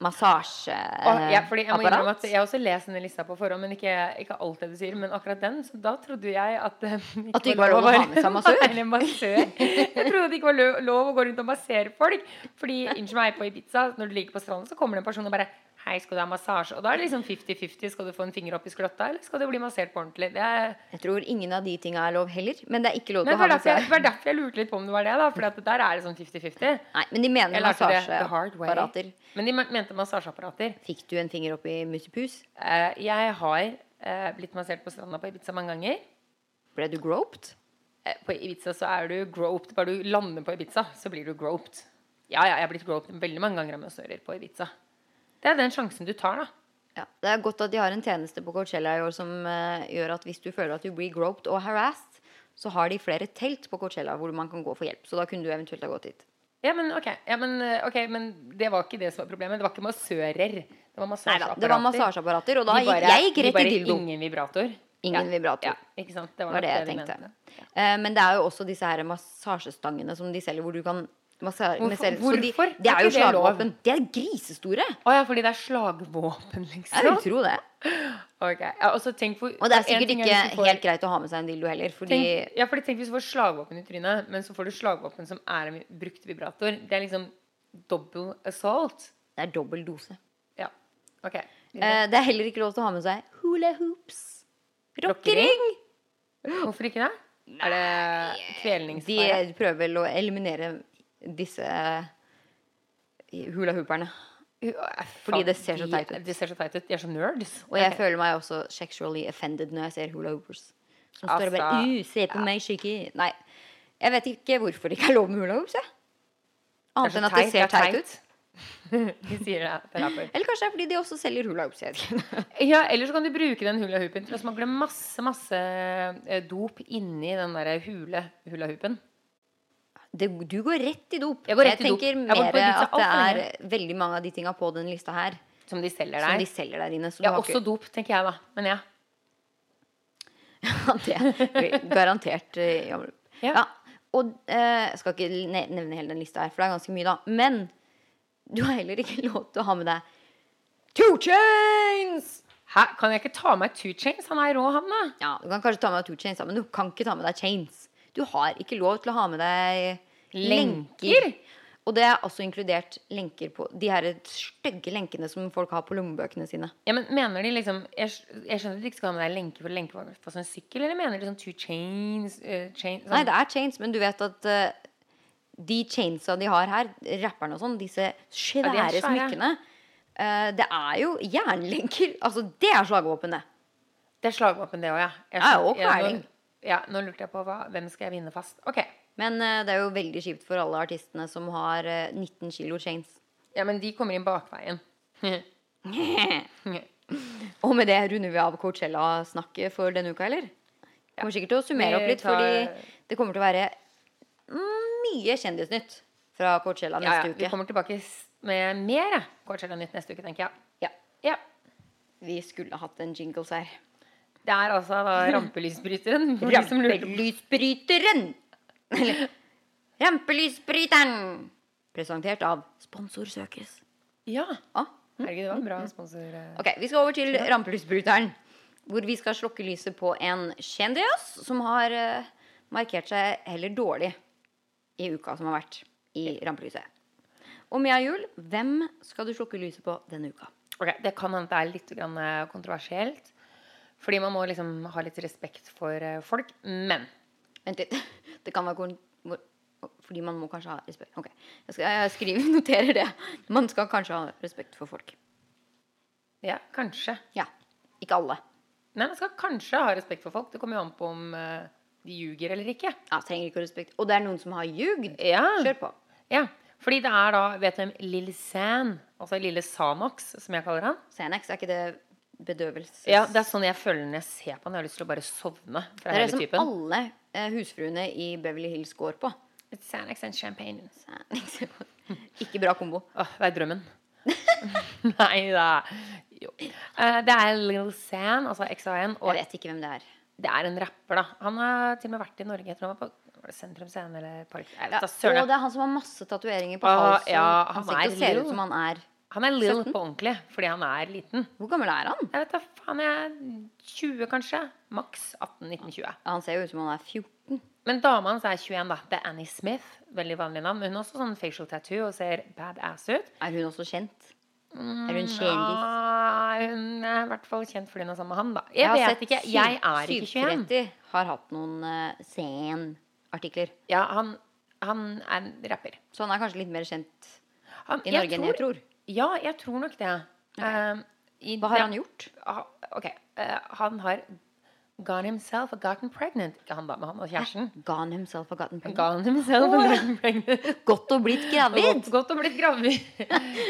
A: Eh,
B: Åh, ja, fordi jeg må innrømme
A: Massasjeapparat.
B: at jeg har også lest denne lista på forhånd, men ikke, ikke alt det du sier. Men akkurat den, så da trodde jeg at eh,
A: At det ikke var lov å ha med seg massør?
B: Nei, massør. Jeg trodde det ikke var lø- lov å gå rundt og massere folk. Fordi, unnskyld meg, på Ibiza, når du ligger på stranden, så kommer det en person og bare Hei, skal du ha massasje? Og da er det liksom 50-50. Skal du få en finger opp i skrotta, eller skal du bli massert på ordentlig? Det er,
A: Jeg tror ingen av de tinga er lov heller. Men det er ikke lov
B: men
A: til å
B: det
A: ha
B: var, derfor jeg, det
A: massasje.
B: var derfor jeg lurte litt på om det var det, da. For der er det sånn 50-50.
A: Nei, men de mener
B: Jeg lærte det the hard way.
A: massasjeapparater.
B: Men de men- mente massasjeapparater.
A: Fikk du en finger opp i muttepus?
B: Eh, Jeg har eh, blitt massert på stranda på Ibiza mange ganger.
A: Ble du groped?
B: Eh, På Ibiza så er du groped. Bare du lander på Ibiza, så blir du groped. Ja, ja, jeg har blitt groped veldig mange ganger av massører på Ibiza. Det er den sjansen du tar, da.
A: Ja, Det er godt at de har en tjeneste på Coachella i år som eh, gjør at hvis du føler at du blir groped og harassed, så har de flere telt på Coachella hvor man kan gå for hjelp. Så da kunne du eventuelt ha gått dit.
B: Ja, men ok, ja, men, eh, ok, men det var ikke det som var problemet. Det var ikke massører. Det var
A: Neida,
B: massasjeapparater.
A: det var massasjeapparater, og da
B: De
A: gikk
B: bare-
A: jeg gikk
B: de
A: rett i
B: bare
A: dildo.
B: Ingen vibrator.
A: Ingen vibrator.
B: Ja, ikke sant? Det var,
A: var
B: nok
A: det jeg
B: de
A: tenkte.
B: mente.
A: Eh, men det er jo også disse her massasjestangene som de selger, hvor du kan massere
B: Hvorfor-
A: massere- så De,
B: hvorfor?
A: det
B: Er
A: er jo
B: ikke det lov?
A: slagvåpen. De er grisestore!
B: Å ja, fordi det er slagvåpen,
A: Jeg vil
B: liksom.
A: tro det.
B: Ok, ja, og så tenk hvor
A: Og det
B: en
A: er sikkert
B: ting
A: ikke
B: hvis du får-
A: helt greit å ha med seg en dildo heller, fordi
B: Tenk, ja, fordi tenk hvis du får slagvåpen i trynet, men så får du slagvåpen som er en brukt vibrator. Det er liksom double assault.
A: det er dobbel dose.
B: Ja, ok.
A: Eh, det er heller ikke lov til å ha med seg hula hoops. Rockering!
B: Rockering? Hvorfor ikke det? Er det
A: Eh, De
B: kvelningsfare?
A: prøver vel å eliminere disse eh, hula hooperne. fordi det ser så teit ut.
B: eh, De ser så teit ut. De er så nerds.
A: Og jeg
B: Ok.
A: føler meg også sexually offended når jeg ser hula hoopers. Som står og bare
B: Altså,
A: uh, se på meg skikkelig. Nei. Jeg vet ikke hvorfor det ikke er lov med hula hoops. Jeg. Annet
B: så
A: enn at det
B: teit,
A: ser
B: det er
A: teit ut.
B: De sier det. det er derfor.
A: Eller kanskje det er fordi de også selger hula hoops. Jeg vet ikke.
B: Ja, Eller så kan du bruke den hula hoopen til å smagle masse masse eh, dop inni den der hule hula hoopen.
A: Det, du går rett i dop.
B: Jeg går rett i dop.
A: tenker
B: Jeg
A: mer
B: har gått på Ibiza
A: at det
B: alt for
A: er veldig mange av de tinga på den lista her
B: Som de selger
A: som
B: der.
A: de selger der inne. Så du
B: ja,
A: har
B: også
A: ikke
B: dop, tenker jeg da. Men ja.
A: det. Garantert. eh, jammer.
B: Ja.
A: Ja. Og eh, jeg skal ikke ne- nevne hele den lista her, for det er ganske mye, da. Men du har heller ikke lov til å ha med deg two chains!
B: Hæ? Kan jeg ikke ta med two chains? Han er rå, han da.
A: Ja, Du kan kanskje ta med deg two chains, da, men du kan ikke ta med deg chains. Du har ikke lov til å ha med deg lenker.
B: Lenker?
A: Og det er også inkludert lenker på de her stygge lenkene som folk har på lommebøkene sine.
B: Ja, men mener de liksom Jeg, skj- jeg skjønner at du ikke skal ha med deg lenke for lenke for- for sånn sykkel, eller mener de sånn two chains, eh, chain, sånn,
A: Nei, det er chains, men du vet at eh, de chainsa de har her, rapperne og sånn, disse svære,
B: Ja, de er svære.
A: smykkene eh, Det er jo jernlenker. Altså, det er slagvåpenet.
B: det er slagvåpen, det òg, ja. Jeg
A: Ah, Ja,
B: skjønner-
A: og
B: ja, nå-
A: kveling.
B: Ja, nå lurte jeg på hva, hvem skal jeg vinne fast. Ok.
A: Men eh, det er jo veldig kjipt for alle artistene som har eh, 19 kilo chains.
B: Ja, men de kommer inn bakveien.
A: Og med det runder vi av Coachella-snakket for denne uka, eller? Vi kommer sikkert til å summere opp
B: Vi
A: litt,
B: tar-
A: fordi det kommer til å være mm, mye kjendisnytt fra Coachella
B: ja,
A: neste
B: ja, vi
A: uke.
B: kommer tilbake s- med mer jeg. Coachella Nytt neste uke, tenker jeg.
A: Ja,
B: Ja.
A: vi skulle hatt en jingles her.
B: Det er altså da rampelysbryteren. for de som lurer på-
A: Rampelysbryteren! Eller Rampelysbryteren! Presentert av Sponsor søkes.
B: Ja.
A: Ah.
B: Herregud, det var en bra sponsor. eh.
A: Ok, Vi skal over til rampelysbryteren. Hvor vi skal slokke lyset på en kjendis som har eh, markert seg heller dårlig i uka som har vært i rampelyset. Og Mia Juel, hvem skal du slokke lyset på denne uka?
B: Ok, Det kan hende det er litt grann eh, kontroversielt. Fordi man må liksom ha litt respekt for eh, folk. Men
A: Vent litt. Det kan være kon hvor- Fordi man må kanskje ha respekt Ok, jeg, skal, jeg skriver, noterer det. Man skal kanskje ha respekt for folk.
B: ja, kanskje.
A: Ja. Ikke alle.
B: Nei, man skal kanskje ha respekt for folk. Det kommer jo an på om eh, de ljuger eller ikke.
A: Ja, trenger ikke å respekt. Og det er noen som har ljugd.
B: Ja.
A: Kjør på.
B: ja. Fordi det er da, vet du hvem Lille San, altså Lille Sanox, som jeg kaller han
A: Xanax, er ikke det bedøvelse?
B: Ja, Det er sånn jeg føler når jeg ser på han. Jeg har lyst til å bare sovne. fra
A: det er det
B: hele
A: som
B: typen.
A: alle eh, husfruene i Beverly Hills går på.
B: Xanax and champagne.
A: Xanax. Ikke bra kombo.
B: Åh, det er drømmen. Nei da. Jo. Eh, det er Lil San, altså XAN,
A: Jeg
B: og
A: vet ikke hvem det er.
B: det er en rapper, da. Han har til og med vært i Norge. Jeg tror han var på var det Sentrum Scene eller Park Jeg
A: Ja,
B: vet da
A: og
B: søren.
A: det er han som har masse tatoveringer på
B: Ah,
A: halsen.
B: ja, han
A: han
B: er
A: ser
B: lil.
A: ut som han er
B: Han er Lil på ordentlig fordi han er liten.
A: Hvor gammel er han?
B: Jeg vet da faen, jeg er 20 kanskje. Maks 18-19-20.
A: Ja, Han ser jo ut som han er 14.
B: Men dama hans er 21, da. Det er Annie Smith. Veldig vanlig navn. Men hun har også sånn facial tattoo og ser badass ut.
A: Er hun også kjent? Er
B: Mm,
A: hun kjendis?
B: Nei, hun er i hvert fall kjent fordi hun er sammen med han, da. Jeg,
A: har
B: vet
A: sett
B: ikke.
A: syv-
B: Jeg er ikke 21.
A: 730 har hatt noen uh, sen-artikler.
B: Ja, han, han er en rapper.
A: Så han er kanskje litt mer kjent
B: Han,
A: i Norge enn jeg tror.
B: Ja, jeg tror nok det. Um, i
A: Hva har
B: den-
A: han gjort?
B: Ah, Ok, eh, han har gone himself and gotten pregnant. Ikke han da, men han og kjæresten.
A: Gone himself har gotten pregnant.
B: Gone himself and gotten pregnant.
A: Godt og blitt gravid!
B: Godt, godt å blitt gravid.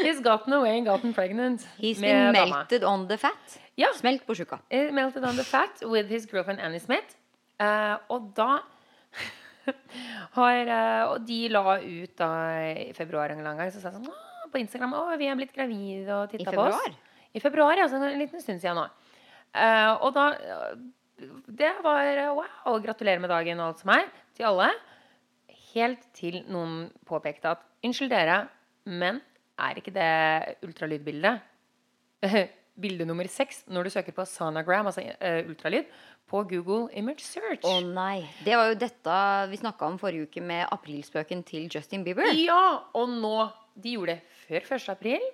B: He's gotten away and gotten pregnant.
A: He's been
B: med dama.
A: melted on the fat.
B: Ja.
A: Smelt på tjukka.
B: Eh, Melted on the fat with his girlfriend Annie Smith. Eh, og da har eh, Og de la ut da i februar en eller annen gang, så sa de sånn «Åh, på Instagram Å, vi er blitt gravide og
A: I
B: titta på oss.
A: februar.
B: I februar, altså en liten stund siden nå. Eh, og da eh, Det var eh, wow! Gratulerer med dagen og alt som er, til alle. Helt til noen påpekte at Unnskyld dere, men er ikke det ultralydbildet? Bilde nummer seks når du søker på sonogram, altså eh, ultralyd, på Google Image Search.
A: Å nei. Det var jo dette vi snakka om forrige uke med aprilspøken til Justin Bieber.
B: Ja! Og nå De gjorde det før 1. april.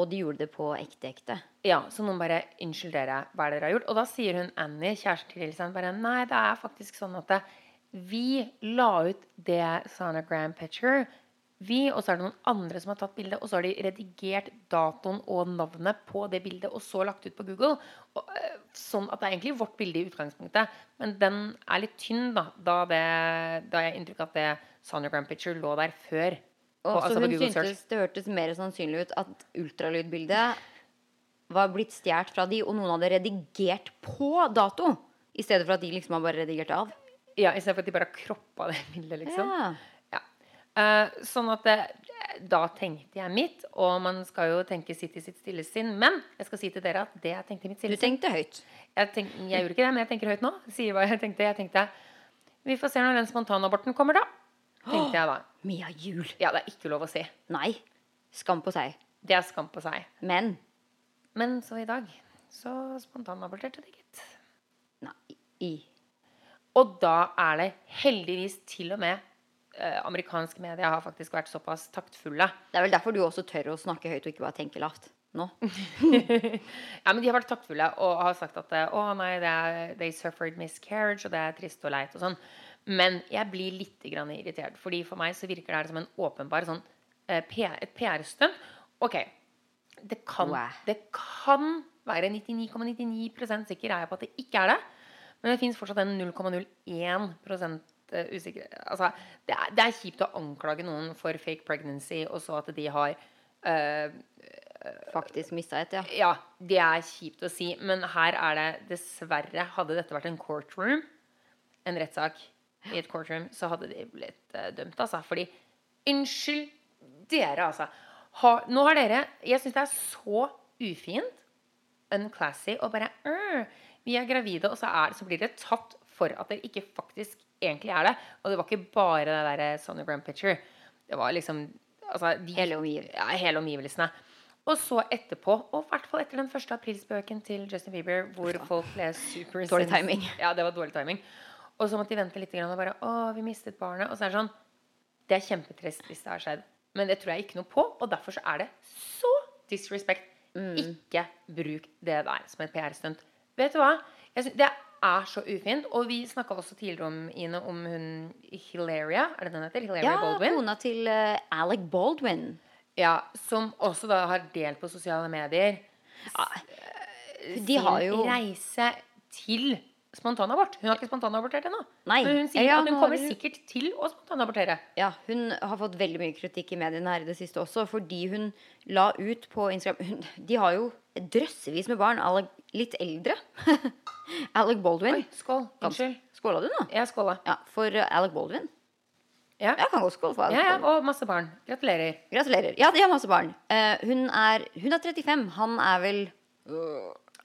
A: Og de gjorde det på ekte ekte.
B: Ja, så noen bare 'Unnskyld dere, hva er det dere har gjort?' Og da sier hun Annie, kjæresten til Lillesand, bare 'Nei, det er faktisk sånn at det- vi la ut det sonogram picture, vi, og så er det noen andre som har tatt bildet, og så har de redigert datoen og navnet på det bildet, og så lagt ut på Google. Og, øh, sånn at det er egentlig vårt bilde i utgangspunktet, men den er litt tynn, da, da, det, da jeg har inntrykk av at det sonogram picture lå der før.
A: Og
B: på-
A: så
B: altså på
A: hun
B: Google Search.
A: syntes det hørtes mer sannsynlig ut at ultralydbildet var blitt stjålet fra de, og noen hadde redigert på dato. I stedet for at de liksom har bare redigert av.
B: Ja, i stedet for at de bare har kroppa det bildet, liksom.
A: Ja.
B: Ja. Eh, sånn at eh, da tenkte jeg mitt, og man skal jo tenke sitt i sitt stille sinn. Men jeg skal si til dere at det jeg tenkte i mitt
A: Du
B: stille sinn
A: tenkte høyt.
B: jeg, tenk, jeg gjorde ikke det, men jeg tenker høyt nå. Sier hva jeg tenkte. Jeg tenkte Vi får se når den spontanaborten kommer, da. Tenkte jeg da.
A: Mia Jul.
B: Ja, det er ikke lov å si.
A: Nei. Skam på seg.
B: Det er skam på seg.
A: Men
B: Men så i dag så spontanaborterte det, gitt.
A: nei. I.
B: Og da er det heldigvis til og med eh, amerikansk media har faktisk vært såpass taktfulle.
A: Det er vel derfor du også tør å snakke høyt og ikke bare tenke lavt nå.
B: Ja, men De har vært taktfulle og har sagt at eh, å nei, det er, they suffered miscarriage, og det er trist og leit og sånn. Men jeg blir litt grann irritert, fordi for meg så virker det her som en åpenbar sånn eh, PR, et PR-stunt. Ok, det kan,
A: Wow.
B: det kan være 99,99 sikker er jeg på at det ikke er det. Men det fins fortsatt en 0,01 eh, usikker Altså, det er, det er kjipt å anklage noen for fake pregnancy, og så at de har eh,
A: Faktisk mista et, ja.
B: ja, det er kjipt å si, men her er det dessverre Hadde dette vært en courtroom, en rettssak i et courtroom, så hadde de blitt eh, dømt, altså. Fordi Unnskyld dere, altså. Ha, nå har dere Jeg syns det er så ufint, unclassy, og bare «Øh, Vi er gravide, og så, er, det- så blir dere tatt for at dere ikke faktisk egentlig er det. Og det var ikke bare det derre sonogram picture. Det var liksom altså, de,
A: Hele omgiv-
B: ja, hele omgivelsene. Og så etterpå, og i hvert fall etter den første aprilspøken til Justin Bieber, hvor folk ble super
A: Dårlig timing.
B: Ja, det var dårlig timing. Og så måtte de vente litt grann og bare Å, vi mistet barnet. Og så er det sånn Det er kjempetrist hvis det har skjedd, men det tror jeg ikke noe på, og derfor så er det så disrespect.
A: Mm.
B: Ikke bruk det der som et PR-stunt. Vet du hva? Jeg synes, det er så ufint. Og vi snakka også tidligere om Ine, om hun Hilaria. Er det den heter? Hilaria
A: Ja,
B: Baldwin?
A: kona til eh, Alec Baldwin.
B: Ja, som også da har delt på sosiale medier
A: De har jo
B: sin reise til spontanabort. Hun har ikke spontanabortert ennå.
A: Nei.
B: Men hun sier
A: Ja,
B: at hun
A: nå har
B: kommer
A: hun-
B: sikkert til å spontanabortere.
A: Ja, hun har fått veldig mye kritikk i mediene her i det siste også, fordi hun la ut på Instagram hun, De har jo drøssevis med barn. Alec, litt eldre. Alec Baldwin.
B: Oi, skål. Unnskyld.
A: Skåla du nå?
B: Jeg skåla.
A: Ja, for eh, Alec Baldwin.
B: Ja.
A: Jeg kan godt skåle for Alec
B: Ja, ja,
A: Baldwin.
B: og masse barn. Gratulerer.
A: Gratulerer. Ja, de har masse barn. Eh, hun, er, hun er 35. Han er vel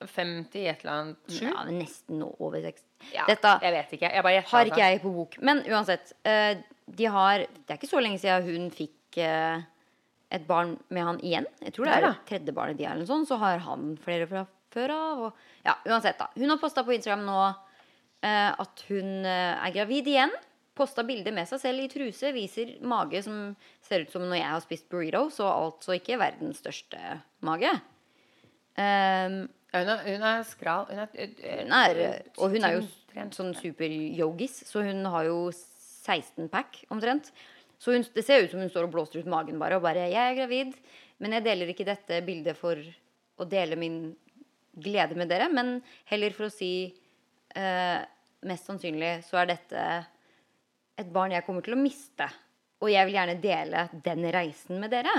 B: 50 et eller annet. Sju?
A: Mm, ja, nesten over 60.
B: Ja,
A: Dette
B: Jeg vet ikke. Jeg bare gjetter.
A: har ikke jeg på bok. Men uansett. eh, de har, det er ikke så lenge siden hun fikk eh, et barn med han igjen. Jeg tror det
B: Ja
A: er
B: da.
A: tredje barnet de har, eller noe sånt. Så har han flere fra før av. Og, ja, uansett, da. Hun har posta på Instagram nå eh, at hun eh, er gravid igjen. Posta bilder med seg selv i truse, viser mage som ser ut som når jeg har spist burritos, og altså ikke verdens største mage. Ehm,
B: Ja, Hun er, hun er skral. Hun er, eh,
A: hun er, eh, og hun er jo
B: tynntrent.
A: sånn super-yogis, så hun har jo 16 pack omtrent. Så hun, det ser ut som hun står og blåser ut magen bare og bare 'Jeg er gravid, men jeg deler ikke dette bildet for å dele min glede med dere', men heller for å si eh, Mest sannsynlig så er dette et barn jeg kommer til å miste. Og jeg vil gjerne dele den reisen med dere.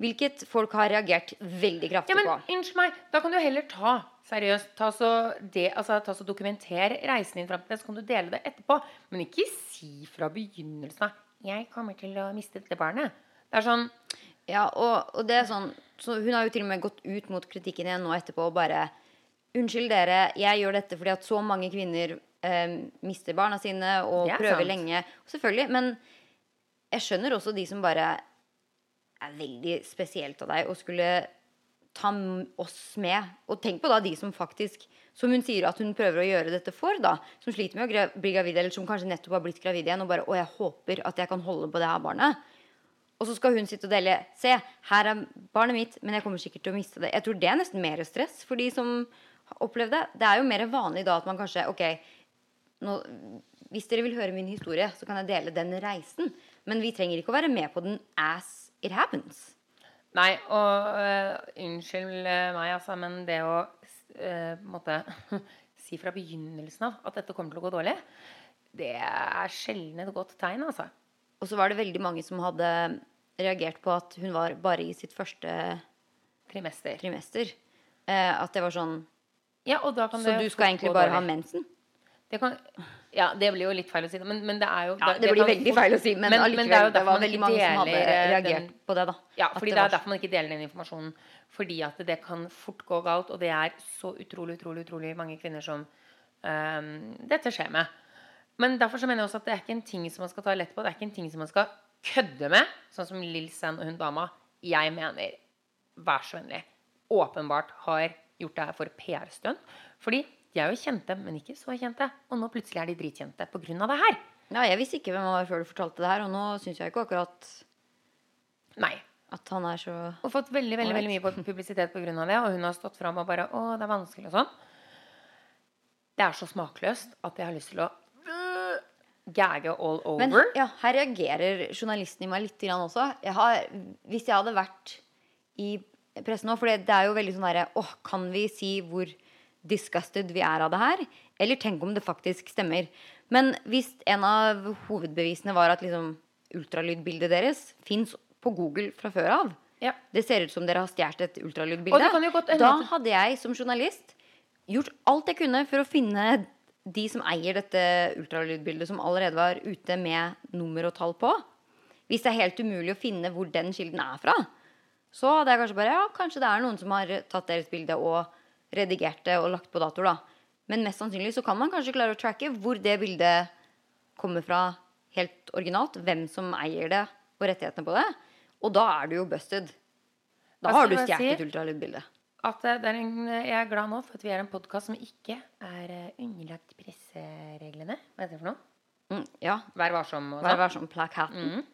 A: Hvilket folk har reagert veldig kraftig
B: Ja, men
A: på.
B: unnskyld meg, da kan du heller ta seriøst, ta så, det, altså, ta så dokumenter reisen din fram til det, så kan du dele det etterpå. Men ikke si fra begynnelsen av 'Jeg kommer til å miste dette barnet'. Det er sånn
A: Ja, og, og det er sånn så Hun har jo til og med gått ut mot kritikken igjen nå etterpå og bare Unnskyld dere, jeg gjør dette fordi at så mange kvinner eh, mister barna sine og
B: Det er
A: prøver
B: sant.
A: lenge. Selvfølgelig. Men jeg skjønner også de som bare er veldig spesielt av deg å skulle ta m- oss med. Og tenk på da de som faktisk Som hun sier at hun prøver å gjøre dette for, da. Som sliter med å gra- bli gravid, eller som kanskje nettopp har blitt gravid igjen og bare Å, jeg håper at jeg kan holde på det her barnet. Og så skal hun sitte og dele. Se, her er barnet mitt, men jeg kommer sikkert til å miste det. Jeg tror det er nesten mer stress for de som har opplevd det. Det er jo mer vanlig da at man kanskje Ok, nå, hvis dere vil høre min historie, så kan jeg dele den reisen. Men vi trenger ikke å være med på den as it happens.
B: Nei, og øh, unnskyld meg, altså, men det å øh, på en måte si fra begynnelsen av at dette kommer til å gå dårlig, det er sjelden et godt tegn, altså.
A: Og så var det veldig mange som hadde reagert på at hun var bare i sitt første
B: Trimester.
A: trimester. Eh, at det var sånn
B: Ja, og da kan
A: Så
B: Sånn det
A: du
B: fort
A: skal egentlig
B: gå
A: bare
B: dårlig.
A: ha mensen?
B: Det kan, ja, det blir jo litt feil å si, det, men, men det er jo
A: Ja, det blir
B: kan
A: veldig
B: fort-
A: feil å si, men, allikevel.
B: det er jo
A: det
B: derfor
A: var
B: man
A: veldig
B: ikke
A: mange som hadde
B: deler, eh,
A: reagert
B: den-
A: på det, da.
B: Ja,
A: At
B: fordi
A: det
B: det er
A: var-
B: derfor man ikke deler den informasjonen. Fordi at det kan fort gå galt, og det er så utrolig, utrolig, utrolig mange kvinner som ehm, dette skjer med. Men derfor så mener jeg også at det er ikke en ting som man skal ta lett på. Det er ikke en ting som man skal kødde med, sånn som Lill Sand og hun dama. Jeg mener, vær så vennlig, åpenbart har gjort det her for PR-stunt. Fordi de er jo kjente, men ikke så kjente. Og nå plutselig er de dritkjente pga. det her.
A: Ja, jeg visste ikke hvem han var før du fortalte det her, og nå syns jeg ikke akkurat
B: Nei.
A: at han er så
B: Og fått veldig veldig, veldig mye på publisitet pga. det. Og hun har stått fram og bare 'Å, det er vanskelig', og sånn. Det er så smakløst at jeg har lyst til å øh, gagge all over.
A: Men ja, her reagerer journalisten i meg litt grann også. Jeg har, hvis jeg hadde vært i pressen nå, for det, det er jo veldig sånn derre Åh, kan vi si hvor disgusted vi er av det her? Eller tenk om det faktisk stemmer. Men hvis en av hovedbevisene var at liksom ultralydbildet deres fins på Google fra før av,
B: Ja.
A: det ser ut som dere har stjålet et
B: Og
A: ultralydbilde.
B: det kan jo godt hende
A: Da
B: at-
A: hadde jeg som journalist gjort alt jeg kunne for å finne de som eier dette ultralydbildet, som allerede var ute med nummer og tall på. Hvis det er helt umulig å finne hvor den kilden er fra, så hadde jeg kanskje bare Ja, kanskje det er noen som har tatt deres bilde og redigert det og lagt på datoer, da. Men mest sannsynlig så kan man kanskje klare å tracke hvor det bildet kommer fra helt originalt. Hvem som eier det, og rettighetene på det. Og da er du jo busted. Da
B: Hva
A: har
B: skal
A: du
B: jeg
A: stjålet et
B: si?
A: ultralydbilde.
B: At eh, det er en, jeg er glad nå for at vi er en podkast som ikke er eh, underlagt pressereglene. Hva heter det for noe?
A: Mm, ja.
B: Vær varsom. Og
A: Bare vær sånn
B: sånn.
A: plakaten.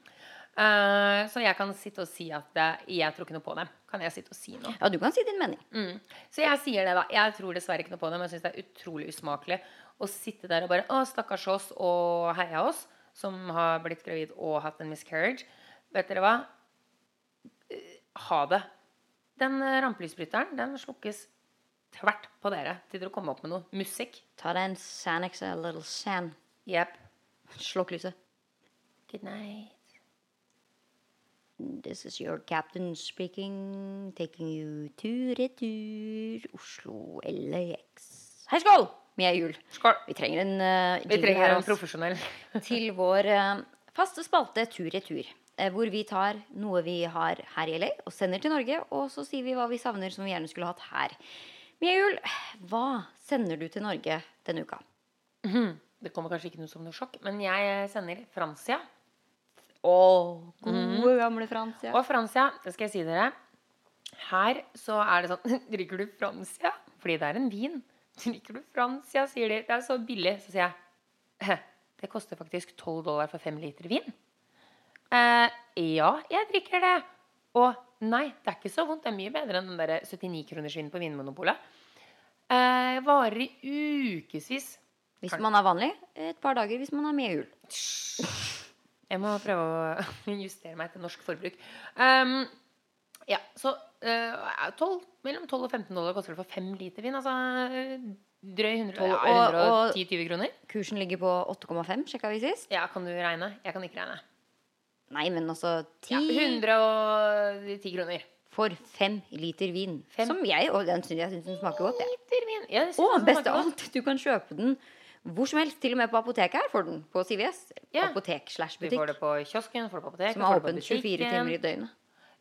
B: Eh, så jeg kan sitte og si at eh, jeg tror ikke noe på dem. Kan jeg sitte og si noe?
A: Ja, du kan si din mening.
B: Mm. Så jeg sier det, da. Jeg tror dessverre ikke noe på det, men jeg syns det er utrolig usmakelig å sitte der og bare Å, stakkars oss og heia oss, som har blitt gravid og hatt en miscarriage. Vet dere hva? Eh, Ha det. Den eh, rampelysbryteren, den slukkes tvert på dere til dere kommer opp med noe musikk.
A: Ta deg en Sanex a little San.
B: Jepp.
A: Slokk lyset.
B: Good night.
A: This is your captain speaking, taking you to retur Oslo LAX. Hei, skål! Vi er jul.
B: Skål.
A: Vi trenger en uh,
B: Vi trenger en profesjonell.
A: til vår eh, faste spalte Tur-retur. eh, Hvor vi tar noe vi har her i LA og sender til Norge. Og så sier vi hva vi savner som vi gjerne skulle hatt her. Mia Jul, hva sender du til Norge denne uka?
B: Det kommer kanskje ikke noe som noe sjokk, men jeg sender Francia.
A: Å, gode gamle Frans. Ja.
B: Og Francia, det skal jeg si dere Her så er det sånn Drikker du Francia? Fordi det er en vin. Drikker du Francia, sier de. Det er så billig. Så sier jeg «Hæ, Det koster faktisk 12 dollar for 5 liter vin. Eh, ja, jeg drikker det. Og nei, det er ikke så vondt. Det er mye bedre enn den der 79-kronersvinen på Vinmonopolet. Eh, varer i ukevis.
A: Hvis man er vanlig, et par dager hvis man er med jul.
B: Jeg må prøve å justere meg til norsk forbruk. Ehm, ja, så eh, 12, mellom 12 og 15 dollar koster det for 5 liter vin. Altså eh, drøy 100,
A: Ja,
B: og,
A: og- og-
B: 110-20 kroner.
A: Kursen ligger på 8,5, sjekka vi sist.
B: Ja, kan du regne? Jeg kan ikke regne.
A: Nei, men altså
B: Ja,
A: 10
B: 110 kroner.
A: for 5 liter vin.
B: Fem.
A: Som jeg, og den syns jeg synes den smaker godt. jeg.
B: Liter vin. Ja, det synes
A: Og
B: jeg
A: best av
B: smaker godt.
A: alt, du kan kjøpe den hvor som helst. Til og med på apoteket her får du den. På CVS.
B: Ja.
A: Apotek slash
B: Du får
A: butikk.
B: det på kiosken, får det på apoteket,
A: Som er
B: får det på
A: åpen 24
B: butikken.
A: timer i døgnet.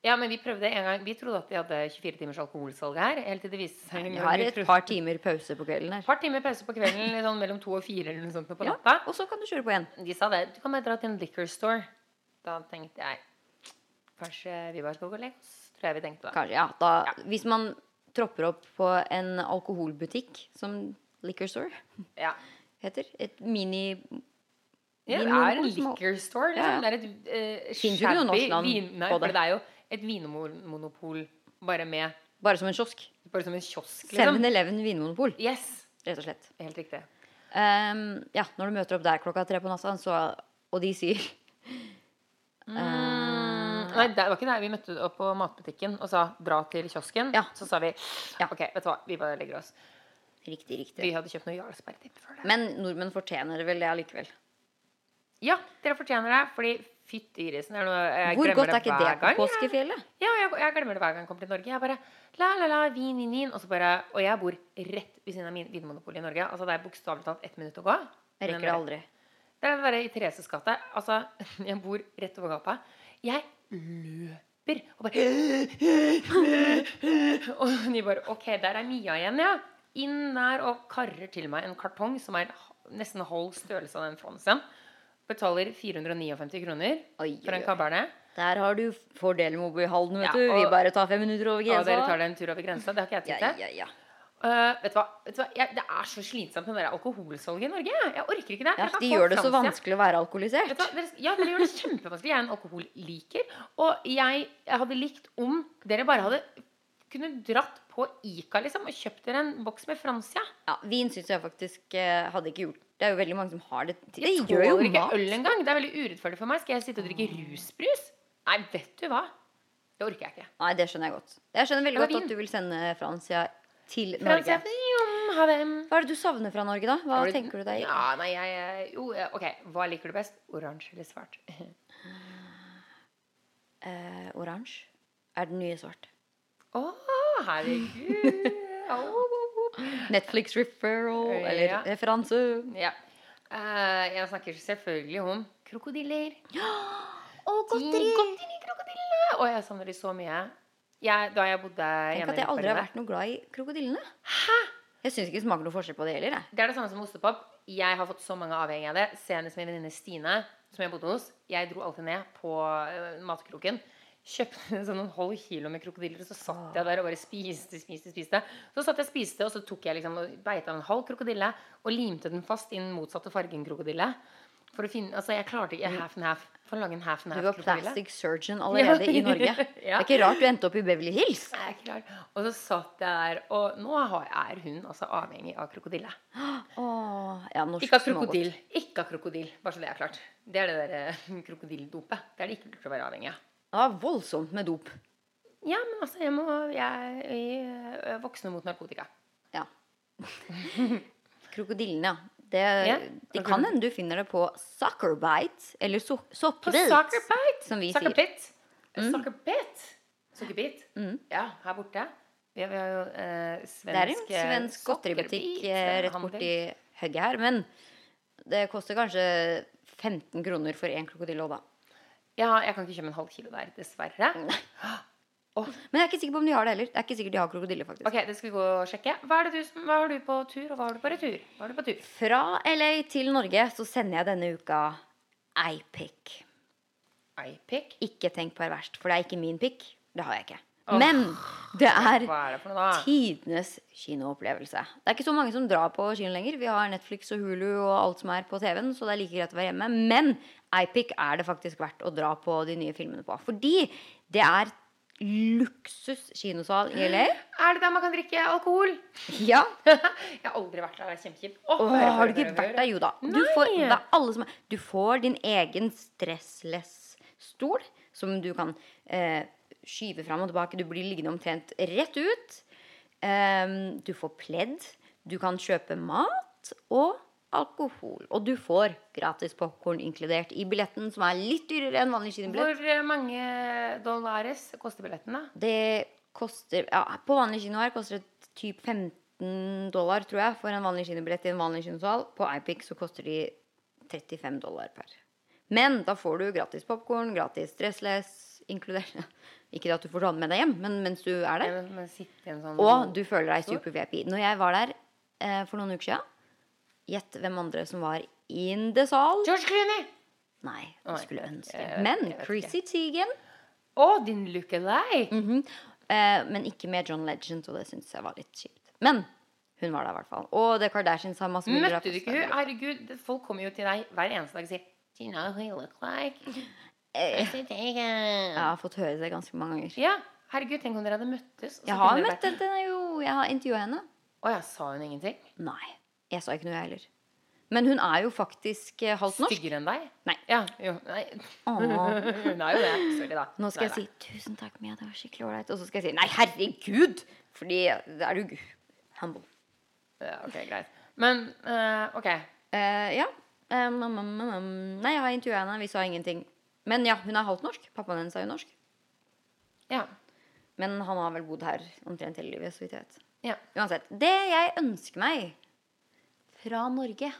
B: Ja, men vi prøvde en gang. Vi trodde at de hadde 24 timers alkoholsalg her. Helt til det viste seg
A: Vi har et par timer pause på kvelden her.
B: par timer pause på kvelden, litt sånn mellom to og fire eller noe sånt på
A: Ja,
B: natta.
A: og så kan du kjøre på igjen.
B: De sa det. Du kan bare dra til en liquor store. Da tenkte jeg Kanskje vi bare skal gå og legge oss. Tror jeg vi tenkte da.
A: Kanskje, ja, da, Hvis man tropper opp på en alkoholbutikk, som liquor store
B: Ja.
A: heter. Et mini...
B: Ja, det
A: Vinmonopol
B: er en
A: som har-
B: liquor store,
A: Ja, ja.
B: liksom. Det er et eh,
A: Finnes jo ikke noe
B: shabby
A: norsk navn
B: vin... Nei,
A: på
B: for
A: det.
B: det er jo et vinmonopol bare med
A: Bare som en kiosk.
B: Bare som en kiosk, liksom.
A: 7-Eleven vinmonopol,
B: Yes.
A: rett og slett.
B: Helt riktig.
A: Ehm, ja, når du møter opp der klokka tre på natta, så- og de sier
B: Mm, Nei, det var ikke det. Vi møtte opp på matbutikken og sa 'dra til kiosken'.
A: Ja.
B: Så sa vi
A: Ja.
B: OK, vet du hva, vi bare legger oss.
A: Riktig, riktig.
B: Vi hadde kjøpt noe Jarlsberg-tipp før det.
A: Men nordmenn fortjener vel det allikevel.
B: Ja, dere fortjener det, fordi fytti grisen det er noe jeg
A: Hvor
B: glemmer
A: godt er ikke det
B: hver
A: på
B: gang, jeg.
A: påskefjellet?
B: Ja, jeg, jeg glemmer det hver gang jeg kommer til Norge. Jeg bare la, la, la, vin, vin, vin. Og så bare Og jeg bor rett ved siden av min Vinmonopolet i Norge. Altså det er bokstavelig talt ett minutt å gå.
A: Jeg
B: Men
A: rekker det aldri.
B: Det er bare i Thereses gate. Altså, jeg bor rett over gata. Jeg løper og bare Og de bare Ok, der er Mia igjen, ja. Inn der og karrer til meg en kartong som er h- nesten halv størrelse av den fransen. Betaler 459 kroner
A: Oi,
B: for
A: oi,
B: en
A: oi.
B: cabernet.
A: Der har du fordelen med å bo i Halden, vet
B: Ja,
A: du. Vi
B: og-
A: bare tar fem minutter over
B: Og dere tar
A: grensa.
B: dere en tur over grensa. Det har ikke jeg tid
A: Ja,
B: til.
A: ja, ja.
B: Eh, vet du hva? Vet du hva? Jeg, det er så slitsomt med det der alkoholsalget i Norge. jeg. Jeg orker ikke det.
A: ja
B: Jeg kan
A: de
B: få
A: gjør det så
B: fransk, jeg.
A: vanskelig å være alkoholisert.
B: Vet du hva, dere, ja, men det gjør det kjempevanskelig. Jeg er en alkoholliker. Og jeg, jeg hadde likt om dere bare hadde kunne dratt på Ica liksom, og kjøpt dere en boks med Francia.
A: Ja, vin syns jeg faktisk eh, hadde ikke gjort. Det er jo veldig mange som har det. Det
B: Jeg
A: gjør jo
B: tåler ikke
A: mat.
B: øl engang. Det er veldig urettferdig for meg. Skal jeg sitte og drikke rusbrus? Nei, vet du hva? Det orker jeg ikke.
A: Nei, det skjønner jeg godt. Jeg skjønner veldig
B: Det var
A: godt
B: vin.
A: at du vil sende Francia til Norge.
B: Francia, jom, ha dem.
A: Hva er det du savner fra Norge, da? Hva
B: Har
A: tenker du deg?
B: Ja, nei, jeg Jo, eh, OK. Hva liker du best? Oransje eller svart? Å,
A: Eh, Oransje er den nye svart.
B: herregud. Au.
A: Netflix referral
B: Ja.
A: eller referanse.
B: Ja. Eh, jeg snakker selvfølgelig om krokodiller.
A: Og
B: De Godterikrokodillene! Og jeg savner de så mye. Jeg, da jeg bodde
A: Tenk
B: hjemme
A: at jeg aldri har
B: Bergen.
A: vært noe glad i krokodillene. Jeg syns ikke det smaker noe forskjell på det heller. Jeg.
B: Det er det samme som ostepop. Jeg har fått så mange avhengige av det. Senest min venninne Stine, som jeg bodde hos. Jeg dro alltid ned på eh, matkroken. Kjøpte sånn en halv kilo med krokodiller, og så satt jeg der og bare spiste, spiste, spiste. Så satt jeg og spiste, og så tok jeg liksom og beit av en halv krokodille og limte den fast i den motsatte fargen krokodille. For å finne, altså Jeg klarte ikke half and half. For å lage en half and
A: Du
B: half
A: var
B: krokodille.
A: plastic surgeon allerede i Norge. Det
B: Ja.
A: er ikke rart du endte opp i Beverly Hills.
B: Det er klart. Og så satt jeg der, og nå har- er hun altså avhengig av krokodille.
A: Åh, ja, norsk
B: Ikke av
A: smågodt.
B: krokodill. Ikke av krokodill, bare så det er klart. Det er det der eh, krokodilldopet. Det er det ikke lurt å være avhengig av.
A: Det var voldsomt med dop.
B: Ja, men altså, jeg må Jeg, jeg er voksne mot narkotika.
A: Ja. Krokodillene, ja. Det,
B: Ja,
A: det
B: krokodillen.
A: kan hende du finner det på Suckerbite eller so
B: På
A: soppbit.
B: Sucker Bite!
A: Som vi sier.
B: Sucker Pit. Sucker Pit. Sukkerbit.
A: Mm.
B: Ja, her borte. Vi har, vi har jo eh,
A: Det er en
B: svensk eh,
A: svensk godteributikk
B: sockerbit,
A: eh,
B: eh,
A: rett
B: handel.
A: borti høgget her. Men det koster kanskje 15 kroner for én krokodille òg, da.
B: Ja, jeg kan ikke kjøpe en halv kilo der, dessverre.
A: Men jeg er ikke sikker på om de har det heller. Det er ikke sikkert de har krokodille, faktisk.
B: Ok, det skal vi gå og sjekke. Hva er det du som, hva har du på tur, og hva har du på retur? Hva har du på tur?
A: Fra LA til Norge så sender jeg denne uka ei pikk.
B: iPic.
A: Ikke tenk perverst, for det er ikke min pikk. Det har jeg ikke.
B: Åh.
A: Men Det er
B: Hva er det for noe, da?
A: tidenes kinoopplevelse. Det er ikke så mange som drar på kino lenger. Vi har Netflix og Hulu og alt som er på TV-en, så det er like greit å være hjemme. Men Eipic er det faktisk verdt å dra på de nye filmene på. Fordi det er luksus kinosal i LA.
B: Er det der man kan drikke alkohol?
A: Ja.
B: jeg har aldri vært der. Det er kjempekjipt. Åh,
A: Åh,
B: hør,
A: har du
B: hør,
A: ikke
B: hør,
A: vært
B: hør.
A: der? Jo da. Du får, det er alle som er, du får din egen stressless-stol, som du kan eh, skyve fram og tilbake. Du blir liggende omtrent rett ut. Ehm, du får pledd. Du kan kjøpe mat og alkohol. Og du får gratis popkorn inkludert i billetten, som er litt dyrere enn vanlig kinobillett.
B: Hvor eh, mange dollares koster billetten, da?
A: Det koster ja, På vanlig kino her koster det typ 15 dollar, tror jeg, for en vanlig kinobillett i en vanlig kinosal. På Ipic så koster de 35 dollar per. Men da får du gratis popkorn, gratis stressless, inkludert Ikke at du får ta den med deg hjem, men mens du er der.
B: Jeg må sitte i en sånn
A: Og du føler deg super-VIP. Når jeg var der eh, for noen uker siden, gjett hvem andre som var in the sal?
B: George Clooney!
A: Nei,
B: Nei,
A: jeg skulle ønske.
B: jeg vet-
A: Men
B: jeg vet
A: Chrissy Teigen
B: Å, din look-alike!
A: Mhm. Eh, men ikke med John Legend, og det syns jeg var litt kjipt. Men hun var der i hvert fall. Og The Kardashians har masse bilder av
B: Møtte du ikke hun?
A: festdager.
B: Herregud, det- folk kommer jo til deg hver eneste dag og sier Do you know who you look like?
A: Eh,
B: Chrissy
A: Jeg
B: Teigen."
A: har fått høre det ganske mange ganger.
B: Ja, herregud, tenk om dere hadde møttes. og så
A: Jeg har
B: kunne dere
A: møtt
B: bare-
A: henne, den er jo Jeg har intervjua henne.
B: Å ja, sa hun ingenting?
A: Nei. Jeg sa ikke noe, jeg heller. Men hun er jo faktisk eh, halvt norsk.
B: Styggere enn deg?
A: Nei.
B: Ja, jo, nei.
A: Åh.
B: Hun er jo det. Sorry, da.
A: Nå skal jeg
B: Nei,
A: si 'tusen takk, Mia, det var skikkelig ålreit'. Og så skal jeg si 'nei, herregud'! Fordi det er jo humble.
B: nei. Ja, ok, greit. Men eh, OK.
A: Eh, ja. Um, um, um, um, um. Nei, jeg har intervjua henne, vi sa ingenting. Men ja, hun er halvt norsk. Pappaen hennes er jo norsk.
B: Ja.
A: Men han har vel bodd her omtrent hele livet. så vidt jeg vet.
B: ja.
A: Uansett. Det jeg ønsker meg fra Norge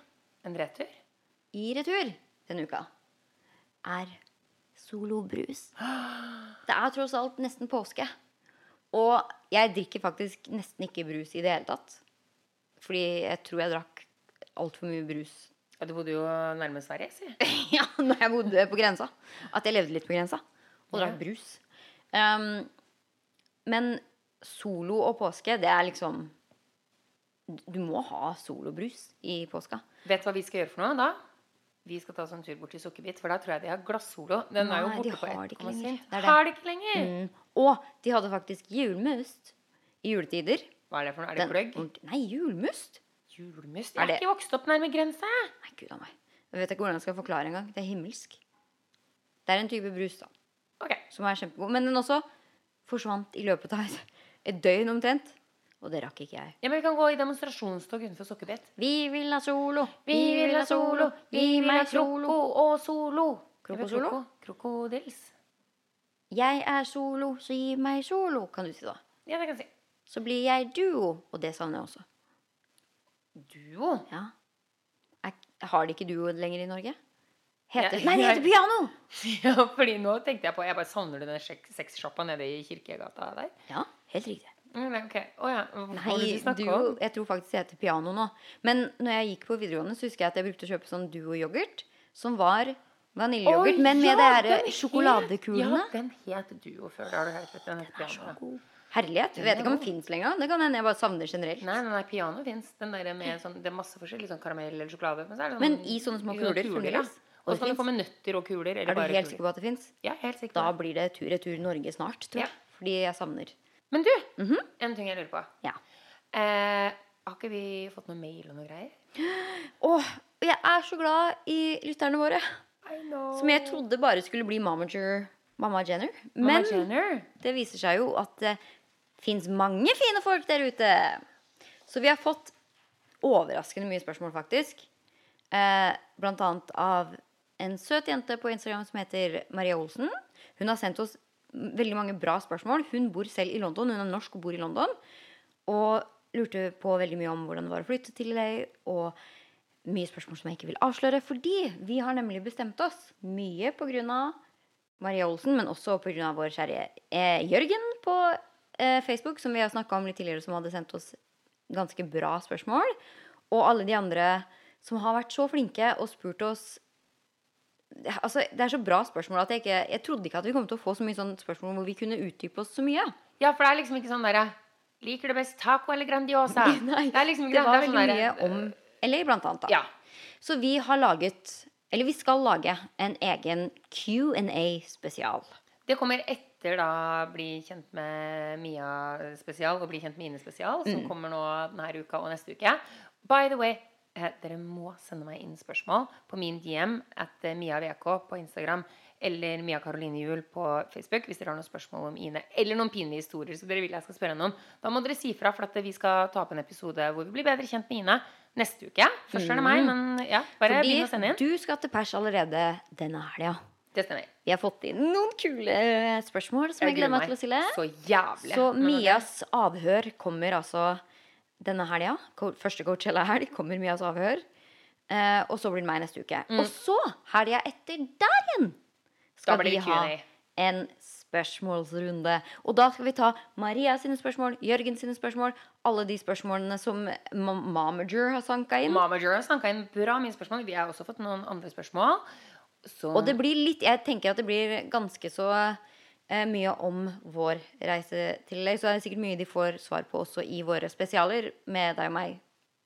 B: En retur?
A: i retur denne uka, er solobrus. Det er tross alt nesten påske. Og jeg drikker faktisk nesten ikke brus i det hele tatt. Fordi jeg tror jeg drakk altfor mye brus
B: Ja, du bodde jo nærme Sverige, si.
A: ja, når jeg bodde på grensa. At jeg levde litt på grensa. Og
B: Ja.
A: drakk brus. Ehm, men solo og påske, det er liksom Du må ha solobrus i påska.
B: Vet du hva vi skal gjøre for noe da? Vi skal ta oss en tur bort til Sukkerbit, for da tror jeg de har glassolo. Den er jo
A: Nei, de
B: borte på
A: har det ikke lenger.
B: 1,7.
A: Det er det.
B: Har de ikke lenger?
A: Mm. Og de hadde faktisk julmust i juletider.
B: Hva er det for noe? Er det
A: Den-
B: gløgg?
A: ordent- nei, julmust?
B: Julmust?
A: Er
B: Jeg er
A: det-
B: ikke vokst opp nærme grensa.
A: Nei, gud a meg. Jeg vet ikke hvordan jeg skal forklare engang. Det er himmelsk. Det er en type brus, da.
B: Ok,
A: som er kjempegod. Men den også forsvant i løpet av et døgn omtrent. Og det rakk ikke jeg.
B: ja, men Vi kan gå i demonstrasjonstog utenfor Sukkerbit.
A: Vi vil ha solo,
B: Vi vil ha solo, vi vil ha kroko og solo. Jeg vil
A: Krokosolo?
B: kroko. Krokodils.
A: Jeg er solo, så gi meg solo, kan du si da.
B: Ja, det kan jeg si.
A: Så blir jeg duo. Og det savner jeg også.
B: Duo.
A: Ja. Er, har de ikke duo lenger i Norge? Heter,
B: Jeg-
A: nei, det
B: jeg-
A: heter piano!
B: Ja, fordi nå tenkte jeg på Jeg bare savner du den sjek- sexshoppa nede i Kirkegata der?
A: Ja, helt riktig.
B: Mm, nei, ok. Å ja. Hva var det
A: Nei,
B: du snakket
A: duo,
B: om?
A: jeg tror faktisk det heter piano nå. Men når jeg gikk på videregående, så husker jeg at jeg brukte å kjøpe sånn duo-yoghurt. Som var vaniljeyoghurt,
B: Å,
A: men med
B: ja,
A: de
B: den
A: her
B: het-
A: sjokoladekulene.
B: Ja, den het Duo før. Det har du helt rett. Den het
A: Den er så
B: Piano.
A: god. Herlighet. Jeg vet ikke om den fins lenger. Det kan hende jeg bare savner generelt.
B: Nei, nei, nei, Piano fins. Den der med sånn Det er masse forskjellig. Sånn karamell eller sjokolade. Men, så er det sånn,
A: Men i sånne små kuler
B: ja.
A: fremdeles? Og
B: Og
A: det
B: så kan
A: finnes?
B: du få med nøtter og kuler. Eller
A: Er du
B: bare
A: helt
B: kuler.
A: sikker på at det fins?
B: Ja, jeg er helt sikker
A: Da
B: på det.
A: blir det tur-retur Norge snart, tror
B: Ja.
A: jeg. Fordi jeg savner.
B: Men du, en ting jeg lurer på.
A: Mhm. Ja.
B: Eh, har ikke vi fått noe mail og noe greier?
A: Åh, og jeg er så glad i lytterne våre.
B: I know.
A: Som jeg trodde bare skulle bli Mamager, Mamma Jenner.
B: Mamma
A: Men
B: Jenner.
A: det viser seg jo at det fins mange fine folk der ute. Så vi har fått overraskende mye spørsmål, faktisk. Eh, blant annet av en søt jente på Instagram som heter Maria Olsen. Hun har sendt oss m- veldig mange bra spørsmål. Hun bor selv i London. Hun er norsk og bor i London. Og lurte på veldig mye om hvordan det var å flytte til LA. Og mye spørsmål som jeg ikke vil avsløre, fordi vi har nemlig bestemt oss. Mye på grunn av Maria Olsen, men også pga. vår kjære eh, Jørgen på eh, Facebook, som vi har snakka om litt tidligere, som hadde sendt oss ganske bra spørsmål. Og alle de andre som har vært så flinke og spurt oss sånn Altså, Det er så bra spørsmål at jeg ikke Jeg trodde ikke at vi kom til å få så mye sånne spørsmål hvor vi kunne utdype oss så mye.
B: Ja, for det er liksom ikke sånn derre Liker du best taco eller Grandiosa?
A: Nei,
B: det er liksom ikke
A: det var
B: er
A: veldig
B: sånn
A: mye
B: derre-
A: om LA, blant annet. Da.
B: Ja.
A: Så vi har laget, eller vi skal lage, en egen Q&A-spesial.
B: Det kommer etter da Bli kjent med Mia spesial og Bli kjent med Ine spesial, som
A: Mm.
B: kommer nå denne uka og neste uke. By the way, eh, dere må sende meg inn spørsmål på min DM at eh, Mia VK på Instagram eller Mia Karoline Juel på Facebook hvis dere har noen spørsmål om Ine eller noen pinlige historier som dere vil jeg skal spørre henne om. Da må dere si fra, for at eh, vi skal ta opp en episode hvor vi blir bedre kjent med Ine neste uke. Først er det meg, men ja, bare begynn å sende
A: Mm. Fordi
B: inn.
A: du skal til pers allerede denne helga.
B: Det stemmer.
A: Vi har fått inn noen kule eh, spørsmål som jeg gleder meg til å stille.
B: Så jævlig.
A: Så
B: Men nå-
A: Mias avhør kommer altså denne helga. Co- Første Coachella-helg kommer Mias avhør. Eh, og så blir det meg neste uke.
B: Mm.
A: Og så, helga etter der igjen, skal
B: blir
A: vi
B: det
A: ha
B: Q&A.
A: en spørsmålsrunde. Og da skal vi ta Maria sine spørsmål, Jørgen sine spørsmål, alle de spørsmålene som Ma- Momager har sanka inn.
B: Mama Jura snakka inn bra mye spørsmål. Vi har også fått noen andre spørsmål. Så
A: Og det blir litt Jeg tenker at det blir ganske så eh, mye om vår reise til LA. Så er det sikkert mye de får svar på også i våre spesialer med deg og meg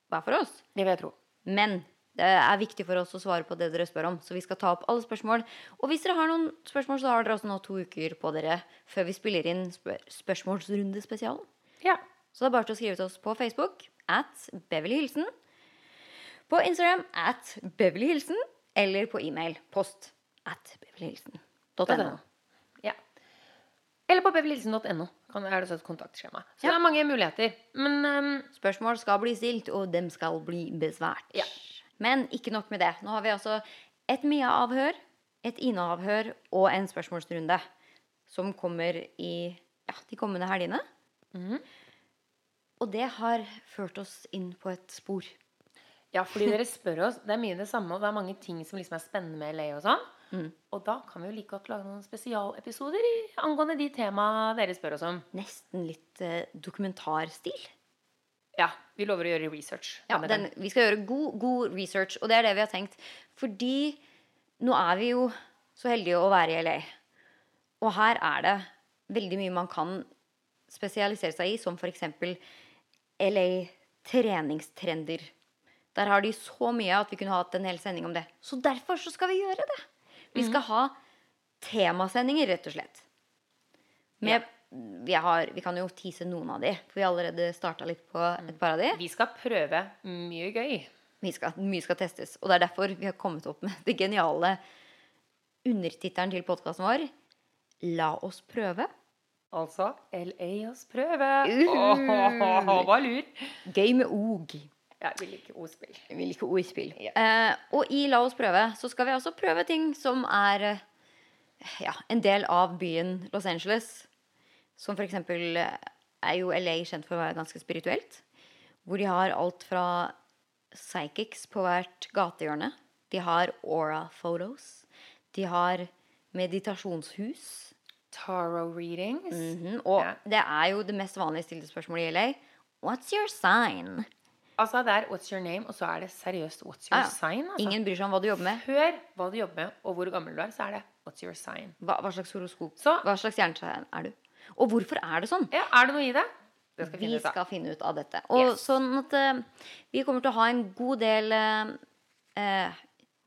A: hver for oss.
B: det vil jeg tro.
A: Men det er viktig for oss å svare på det dere spør om. Så vi skal ta opp alle spørsmål. Og hvis dere har noen spørsmål, så har dere også nå to uker på dere før vi spiller inn spør spørsmålsrundespesialen.
B: Ja.
A: Så det er bare til å skrive til oss på Facebook at Beverly Hilsen. På Instagram at Beverly Hilsen. Eller på e-mail post at beverlyhilsen.no.
B: ja. Eller på beverlilsen.no kan- er det også et kontaktskjema. Så det er mange muligheter. Men ehm,
A: Spørsmål skal bli stilt, og dem skal bli besvart.
B: Ja.
A: Men ikke nok med det. Nå har vi altså et Mia-avhør, et Ine-avhør og en spørsmålsrunde. Som kommer i ja, de kommende helgene. Og det har ført oss inn på et spor.
B: ja, fordi dere spør oss, det er mye det samme, og det er mange ting som liksom er spennende med LA og sånn.
A: Mm.
B: Og da kan vi jo like godt lage noen spesialepisoder i, angående de temaene dere spør oss om.
A: Nesten litt eh, dokumentarstil.
B: Ja, Vi lover å gjøre research.
A: Ja,
B: denne
A: den,
B: gangen.
A: vi skal gjøre god, god research, og det er det vi har tenkt. Fordi nå er vi jo så heldige å være i LA. Og her er det veldig mye man kan spesialisere seg i, som f.eks. LA treningstrender. Der har de så mye at vi kunne hatt en hel sending om det. Så derfor så skal vi gjøre det. Vi skal ha temasendinger, rett og slett. Med, vi, har, vi kan jo tease noen av de, for vi har allerede starta litt på et par av de.
B: Vi skal prøve mye gøy.
A: Vi skal, mye skal testes. Og det er derfor vi har kommet opp med det geniale undertittelen til podkasten vår. La oss prøve.
B: Altså LA oss prøve.
A: Uh.
B: Åhåhå, hva lur.
A: Gøy med og.
B: Jeg vil ikke ordspill.
A: Jeg vil ikke ordspill. Eh, og i La oss prøve så skal vi også prøve ting som er eh, ja, en del av byen Los Angeles. Som for eksempel eh, er jo LA kjent for å være ganske spirituelt. Hvor de har alt fra psychics på hvert gatehjørne. De har aura photos. De har meditasjonshus.
B: Tarot readings.
A: Mhm, Og
B: Ja.
A: det er jo det mest vanlige stilte spørsmålet i LA. What's your sign?
B: Altså det er What's your name, og så er det seriøst What's your
A: Ah, Ja, ja.
B: sign. Altså.
A: Ingen bryr seg om hva du jobber med.
B: Hør hva du jobber med, og hvor gammel du er, så er det What's your sign.
A: Hva, hva slags horoskop?
B: Så-
A: hva slags hjernetegn er du? Og hvorfor er det sånn?
B: Ja, Er det noe i det? Det skal
A: Vi
B: vi finne ut av.
A: skal finne ut av dette. Og
B: Yes.
A: sånn at eh, vi kommer til å ha en god del eh, eh,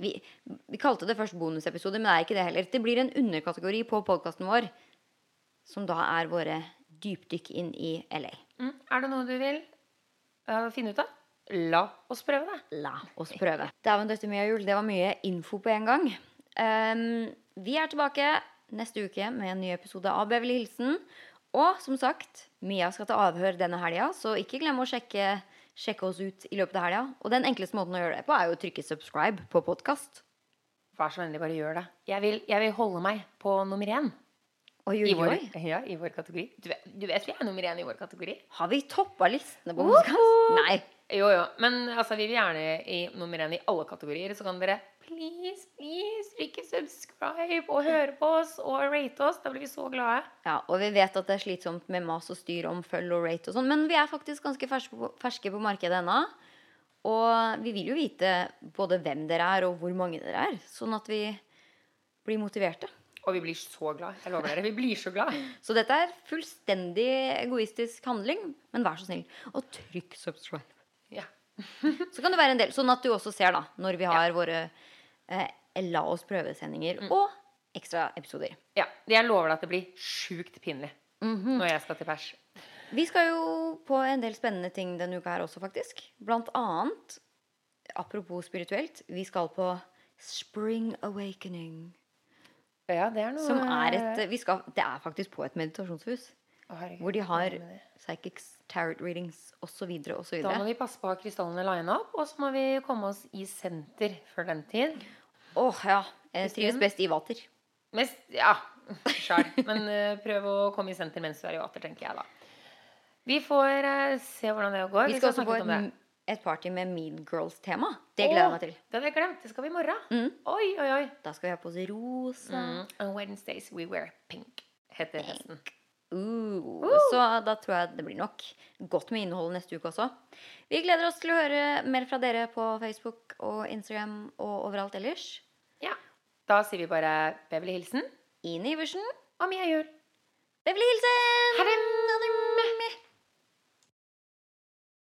A: vi, vi kalte det først bonusepisode, men det er ikke det heller. Det blir en underkategori på podkasten vår som da er våre dypdykk inn i LA.
B: Mm. Er det noe du vil eh, finne ut av? La oss prøve det.
A: La oss prøve. Dæven døtte mye jul. Det var mye info på en gang. Ehm, vi er tilbake neste uke med en ny episode av Beverly Hilsen. Og som sagt, Mia skal til avhør denne helga, så ikke glem å sjekke, sjekke oss ut i løpet av helga. Og den enkleste måten å gjøre det på, er jo å trykke subscribe på podkast.
B: Vær så vennlig, bare gjør det. Jeg vil, jeg vil holde meg på nummer én
A: Og
B: i
A: jo,
B: vår,
A: jo,
B: ja, i vår kategori. Du vet, du vet vi er nummer én i vår kategori?
A: har vi toppa listene på
B: Woho!
A: podkast? Nei.
B: Jo, jo. Men altså, vi vil gjerne i nummer én i alle kategorier. Så kan dere please, please trykke subscribe og høre på oss og rate oss. Da blir vi så glade.
A: Ja, og vi vet at det er slitsomt med mas og styr om følg og rate og sånn, men vi er faktisk ganske ferske på, ferske på markedet ennå. Og vi vil jo vite både hvem dere er og hvor mange dere er, sånn at vi blir motiverte.
B: Og vi blir så glad. Jeg lover dere. Vi blir så glad.
A: Så dette er fullstendig egoistisk handling, men vær så snill og trykk subscribe.
B: Ja.
A: Så kan det være en del, sånn at du også ser da når vi har våre eh, La oss prøve-sendinger og ekstraepisoder.
B: ja. Jeg lover deg at det blir sjukt pinlig når jeg skal til pers.
A: Vi skal jo på en del spennende ting denne uka her også, faktisk. Blant annet, apropos spirituelt, vi skal på Spring Awakening.
B: Ja, det er noe
A: Som er et vi skal, Det er faktisk på et meditasjonshus.
B: Å, herregud.
A: Hvor de har
B: Hva med det?
A: psychics, tarot readings osv. osv.
B: Da må vi passe på å ha krystallene lina opp, og så må vi komme oss i senter før den tid.
A: Åh, ja. Jeg
B: Kristin?
A: trives best i vater.
B: Mest, ja, sjæl. Men eh, prøv å komme i senter mens du er i vater, tenker jeg da. Vi får eh, se hvordan det går.
A: Vi skal også
B: snakke
A: på
B: litt om det.
A: et, et party med Mean Girls-tema. Det gleder jeg meg til.
B: Å, Det hadde jeg glemt. Det skal vi i morgen.
A: Mm.
B: Oi, oi, oi.
A: Da skal vi ha på oss rosa.
B: Mm. On Wednesdays we wear pink, heter hesten.
A: Uh,
B: Uh.
A: Så da tror jeg det blir nok godt med innhold neste uke også. Vi gleder oss til å høre mer fra dere på Facebook og Instagram og overalt ellers.
B: Ja. Da sier vi bare Beverly Hilsen
A: Ine Iversen,
B: og Mia Juel.
A: Beverly Hilsen!
B: Ha det!
A: Ha det!